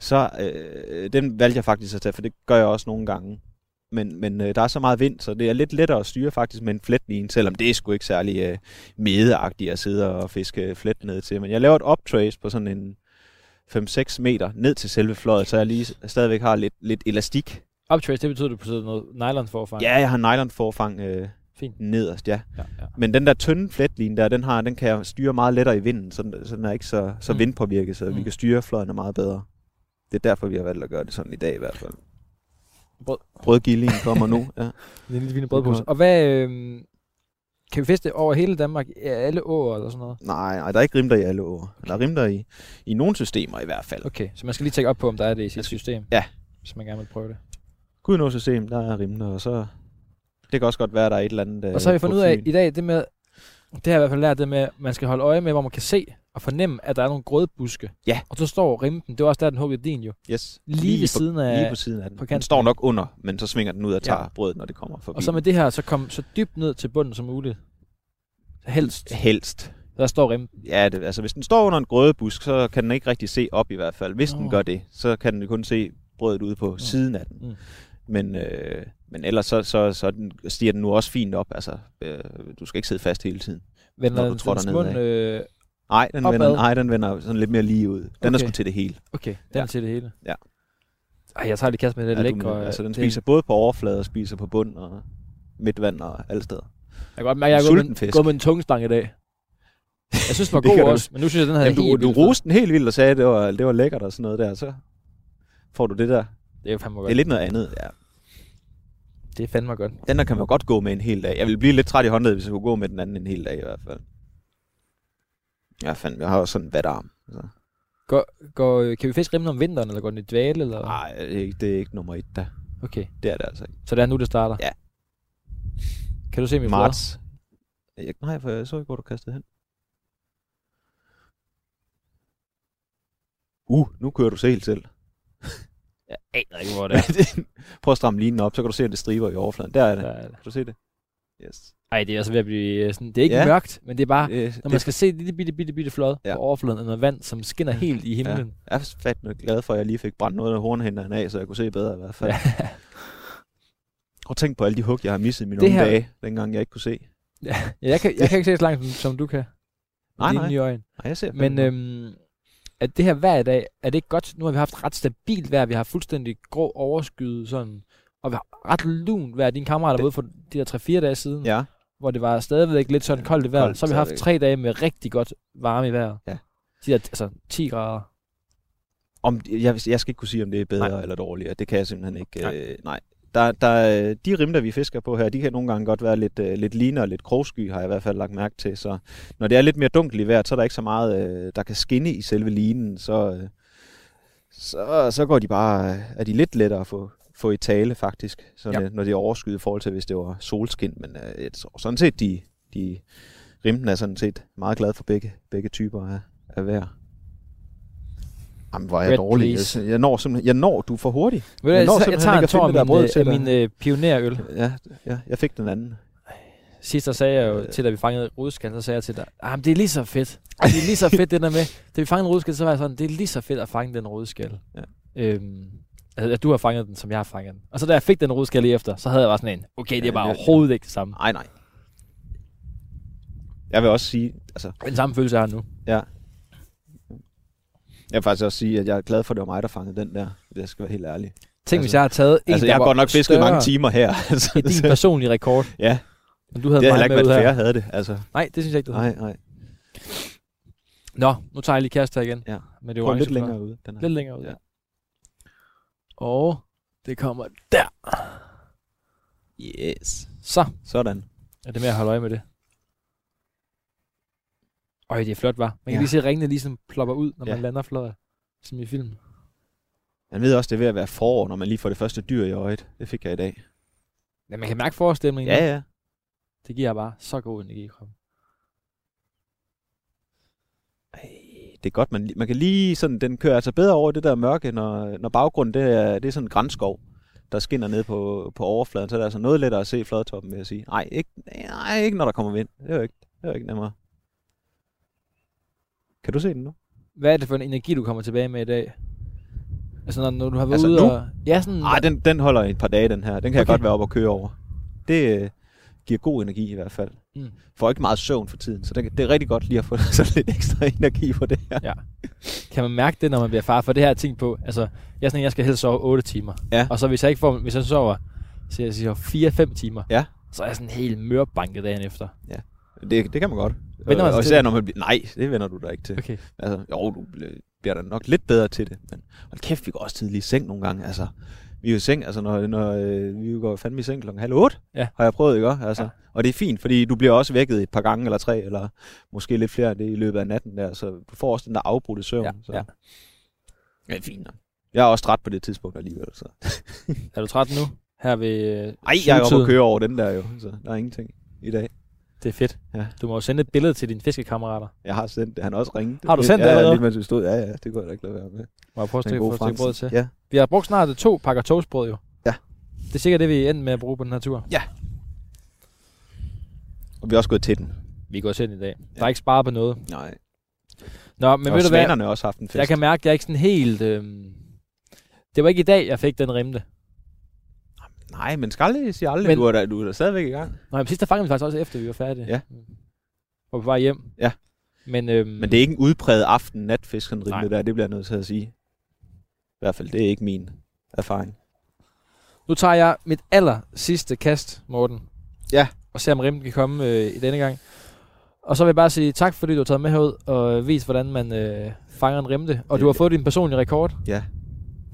Så øh, den valgte jeg faktisk at tage, for det gør jeg også nogle gange. Men, men øh, der er så meget vind, så det er lidt lettere at styre faktisk med en fletline, selvom det er sgu ikke særlig øh, medeagtigt at sidde og fiske flet ned til. Men jeg laver et optrace på sådan en 5-6 meter ned til selve fløjet, så jeg lige s- stadigvæk har lidt, lidt elastik. Uptrace, det betyder, at du putter noget nylon forfang. Ja, jeg har nylonforfang øh, Fint. nederst, ja. Ja, ja. Men den der tynde fletline der, den, har, den kan jeg styre meget lettere i vinden, så den, så den er ikke så, så Mm. vindpåvirket, så mm. vi Mm. kan styre fløjene meget bedre. Det er derfor, vi har valgt at gøre det sådan i dag i hvert fald. Brød. Brødgillingen kommer nu, ja. Det er en lille vinde Det er brødpose. godt. Og hvad, øh, kan vi feste over hele Danmark? Ja, alle åer eller sådan noget? Nej, nej, der er ikke rimter i alle år. Der er rimter i, i nogle systemer i hvert fald. Okay, så man skal lige tjekke op på, om der er det i sit Jeg skal- system. ja. Hvis man gerne vil prøve det. Gudenås-system, der er rimter, og så... Det kan også godt være, der er et eller andet... Og så har vi øh, på fundet ud af Fyn. i dag, det med, det har jeg i hvert fald lært, det med, at man skal holde øje med, hvor man kan se og fornemme, at der er nogle grødbuske. Ja. Og så står rimpen, det var også der, den huggede din jo, Yes. lige, lige ved på, siden af. Lige på siden af den. på På kanten. den står nok under, men så svinger den ud og Ja. tager ja. brødet, når det kommer forbi. og så med det her, så kom så dybt ned til bunden som muligt. Helst. Helst. Der står rimpen. Ja, det, altså hvis den står under en grødebusk, så kan den ikke rigtig se op i hvert fald. Hvis Nå. den gør det, så kan den jo kun se brødet ude på siden af den. Mm. Men, øh, men ellers så, så, så den, stiger den nu også fint op. Altså, øh, du skal ikke sidde fast hele tiden. Vender Når du den tror dens dernedad. mund, øh, Nej, den, Opad. vender, nej, den vender sådan lidt mere lige ud. Den er Okay. sgu til det hele. Okay, den Ja. ja. til det hele. Ja. Ej, jeg tager lige kast med det ja, du lækre. mener, altså, den det- spiser både på overflade og spiser på bund og midtvand og alle steder. Jeg kan godt mærke, at jeg er gået Sulten med, fisk. gået med en tungstang i dag. Jeg synes, den var Det kan god du- også, men nu synes jeg, den havde Jamen, du, helt du vildt fed. roste den helt vildt og sagde, at det var, det var lækkert og sådan noget der, så får du det der. Det er fandme Det er godt. lidt noget andet. Ja. Det er fandme godt. Den der kan man godt gå med en hel dag. Jeg ville blive lidt træt i håndledet, hvis jeg kunne gå med den anden en hel dag i hvert fald. Ja, fandme, jeg har også sådan en vatarm. så. Går, øh, kan vi fiske rimmen om vinteren, eller går den i dvale? Eller? Nej, det er ikke- det er ikke nummer et der. Okay, Det er det altså ikke. så det er nu, det starter? Ja. Kan du se min floder? Marts. Øh, Jeg, nej, for jeg så ikke, hvor du kastede hen. Uh, nu kører du så helt selv. Jeg aner ikke, hvor det er. Prøv at stramme linen op, så kan du se, at det striber i overfladen. Der er det. Der er det. Kan du se det? Yes. Øh, Ej, det er altså ved at blive øh, sådan... Det er ikke ja. Ja. mørkt, men det er bare... det, Ah, Når det- man skal se et lille bitte, bitte, bitte flod ja. Ja. på overfladen af noget vand, som skinner helt i himlen. Jeg er fandme glad for, at jeg lige fik brændt noget af hornhænderne af, så jeg kunne se bedre i hvert fald. Ja. Og tænk på alle de hug, jeg har misset i mine Det unge her- dage, dengang jeg ikke kunne se. Ja, jeg, kan, jeg kan ikke se så langt, som, som du kan. Nej, Dine nej. nye øjne. Nej, jeg ser Men øhm, at det her vejr i dag, er det ikke godt? Nu har vi haft ret stabilt vejr, vi har fuldstændig grå overskyet, sådan, og vi har ret lunt vejr. Din kammerat er Det- ude for de der 3-4 dage siden, ja. Ja, hvor det var stadigvæk lidt sådan koldt i vejret. Koldt så har vi haft stadigvæk. tre dage med rigtig godt varme i vejret. Ja. De der, altså 10 grader. om, jeg, jeg skal ikke kunne sige, om det er bedre Nej. nej. eller dårligere. Det kan jeg simpelthen ikke. Nej. Nej. Øh, nej. Der, der, øh, de rimter, vi fisker på her, de kan nogle gange godt være lidt, øh, lidt ligner og lidt krogsky, har jeg i hvert fald lagt mærke til. Så når det er lidt mere dunkelt i vejret, så er der ikke så meget, øh, der kan skinne i selve linen. Så, øh, så, så går de bare, øh, er de lidt lettere at få, få i tale faktisk, sådan, Ja. ja. når de er overskyet i forhold til, hvis det var solskin. Men øh, jeg tror sådan set, de, de rimten er sådan set meget glad for begge, begge typer af, af vejr. Jamen, hvor er jeg Red, dårlig. please. Jeg, jeg, når simpelthen, jeg når, du er for hurtig. Ved du, Jeg jeg, når jeg, jeg simpelthen tager ikke en at tår finde af det der min, brød øh, til af dig. min øh, pionerøl. Ja, ja, jeg fik den anden. Sidst der sagde jeg jo Øh. til, da vi fangede rudskan, så sagde jeg til dig, ah, men det er lige så fedt. Altså, Det er lige så fedt, det der med, da vi fangede en rudskal, så var jeg sådan, det er lige så fedt at fange den rudskal. Ja. Øhm, altså, at du har fanget den, som jeg har fanget den. Og så da jeg fik den rudskal lige efter, så havde jeg bare sådan en, okay, det Ja, er bare det- overhovedet ikke det samme. Nej, nej. Jeg vil også sige, altså, Den samme følelse, jeg har nu. jeg vil faktisk også sige, at jeg er glad for, at det var mig, der fangede den der. Jeg skal være helt ærlig. Tænk, Altså- hvis jeg har taget en, altså, der jeg har var godt nok fisket større mange timer her. Altså, end din personlige rekord, ja, men du havde det havde mig heller ikke med ud været fair, her. havde det. Altså, Nej, det synes jeg ikke, du havde. nej, nej. Nå, nu tager jeg lige kæreste her igen. Ja. Men det Det er var orange lidt fløj. længere ude. Den her. Lidt længere ud. Ja. Ja. Og det kommer der. Yes. Så Sådan. er det med at holde øje med det. Øj, det er flot, var. Man kan Ja. ja. lige se, at ringene ligesom plopper ud, når Ja. man lander flot. Som i film. Man ved også, det er ved at være forår, når man lige får det første dyr i øjet. Det fik jeg i dag. Men man kan mærke forestemningen. Ja, ja. Det giver bare så god energi i kroppen. Det er godt, man, li- man kan lige sådan, den kører altså bedre over det der mørke, når, når baggrunden det er, det er sådan en grænskov, der skinner ned på, på overfladen, så er det altså noget lettere at se fladtoppen, vil jeg sige. Nej, ikke, nej, ikke når der kommer vind. Det er jo ikke, det er jo ikke nemmere. Kan du se den nu? Hvad er det for en energi, du kommer tilbage med i dag? Altså, når, når du har været Altså ude nu? og... Ja, sådan... Nej, den, den holder et par dage, den her. Den kan okay. jeg Okay. godt være op og køre over. Det øh, giver god energi i hvert fald. Mm. Får ikke meget søvn for tiden, så det, det er rigtig godt lige at få sådan lidt ekstra energi på det her. Kan man mærke det, når man bliver far? For det her ting på, altså, jeg er sådan, en, jeg skal helst sove 8 timer. Ja. Og så hvis jeg ikke får, hvis jeg sover, så jeg siger 4-5 timer, Ja. så er jeg sådan helt mørbanket dagen efter. Det, det kan man godt. Vender man sig og til især det? når man bliver... Nej, det vender du da ikke til. Okay. Altså, jo, du bl- bliver da nok lidt bedre til det, men hold kæft, vi går også tidligt i seng nogle gange, altså. Vi er jo i seng, altså når, når øh, vi går fandme i seng klokken halv otte, Ja. har jeg prøvet, ikke også? Altså, Ja. Og det er fint, fordi du bliver også vækket et par gange eller tre, eller måske lidt flere end det i løbet af natten der, så du får også den der afbrudte søvn. Ja, så. ja. det er fint. nok. Jeg er også træt på det tidspunkt alligevel, så. Er du træt nu? Her ved øh, Ej, jeg er oppe syvtiden. at køre over den der jo, så der er ingenting i dag. Det er fedt. Ja. Du må jo sende et billede til dine fiskekammerater. Jeg har sendt det. Han har også ringet. Har du sendt det ja, Ja, allerede? lige mens vi stod. Ja, ja, det kunne jeg da ikke lade være med. Må jeg prøve at Den stikke gode få et stykke brød Fransen. til? Ja. Vi har brugt snart øh, to pakker toastbrød jo. Ja. Det er sikkert det, vi endte med at bruge på den her tur. Og vi er også gået til den. Vi går selv i dag. Der Ja. er ikke sparet på noget. Nej. Nå, men Men og ved du hvad? svanerne har også haft en fest. Jeg kan mærke, at jeg er ikke sådan helt... Øh... Det var ikke i dag, jeg fik den rimte. Nej, men skal aldrig sige Men- aldrig. Men... Mm. Du, er da, du er da stadigvæk i gang. Nej, men sidst der fangede vi faktisk også efter, vi var færdige. Ja. Og på vej hjem. Ja. Men, øhm, Men det er ikke en udpræget aften natfisken Nej. rimelig der. Det bliver jeg nødt til at sige. I hvert fald, det er ikke min erfaring. Nu tager jeg mit aller sidste kast, Morten. Ja. Og ser, om rimmen kan komme øh, i denne gang. Og så vil jeg bare sige tak, fordi du har taget med herud og øh, vist, hvordan man øh, fanger en rimte. Og Det- du har fået din personlige rekord. Ja.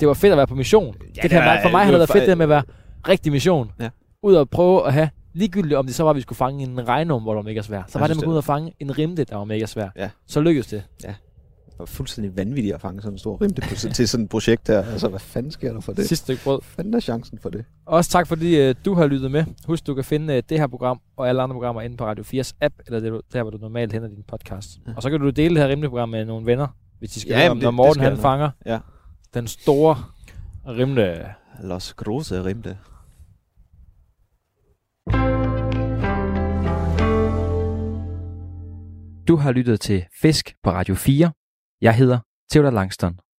Det var fedt at være på mission. Ja, det, kan det jeg var- mærke. For mig det har det var været fa- fedt det der med at være rigtig mission. Ja. Ud og prøve at have ligegyldigt, om det så var, at vi skulle fange en regnorm, hvor der var mega svær. Så Jeg var det, synes, man det kunne ud var- og fange en rimte, der var mega svær. Ja. Så lykkedes det. Det var fuldstændig vanvittigt at fange sådan en stor rimte på, til sådan et projekt der. Altså, hvad fanden sker der for det? Sidste stykke brød. Hvad fanden er chancen for det? Også tak fordi øh, du har lyttet med. Husk, du kan finde øh, det her program og alle andre programmer inde på Radio 4's app, eller det, du- der, hvor du normalt henter din podcast. Ja. Og så kan du dele det her rimelig program med nogle venner, hvis de skal Ja, ja, høre, jamen, om, det- når det Morten skal han jeg nok. fanger Ja. den store rimle. Los Große rimte. Du har lyttet til Fisk på Radio 4. Jeg hedder Theodor Langston.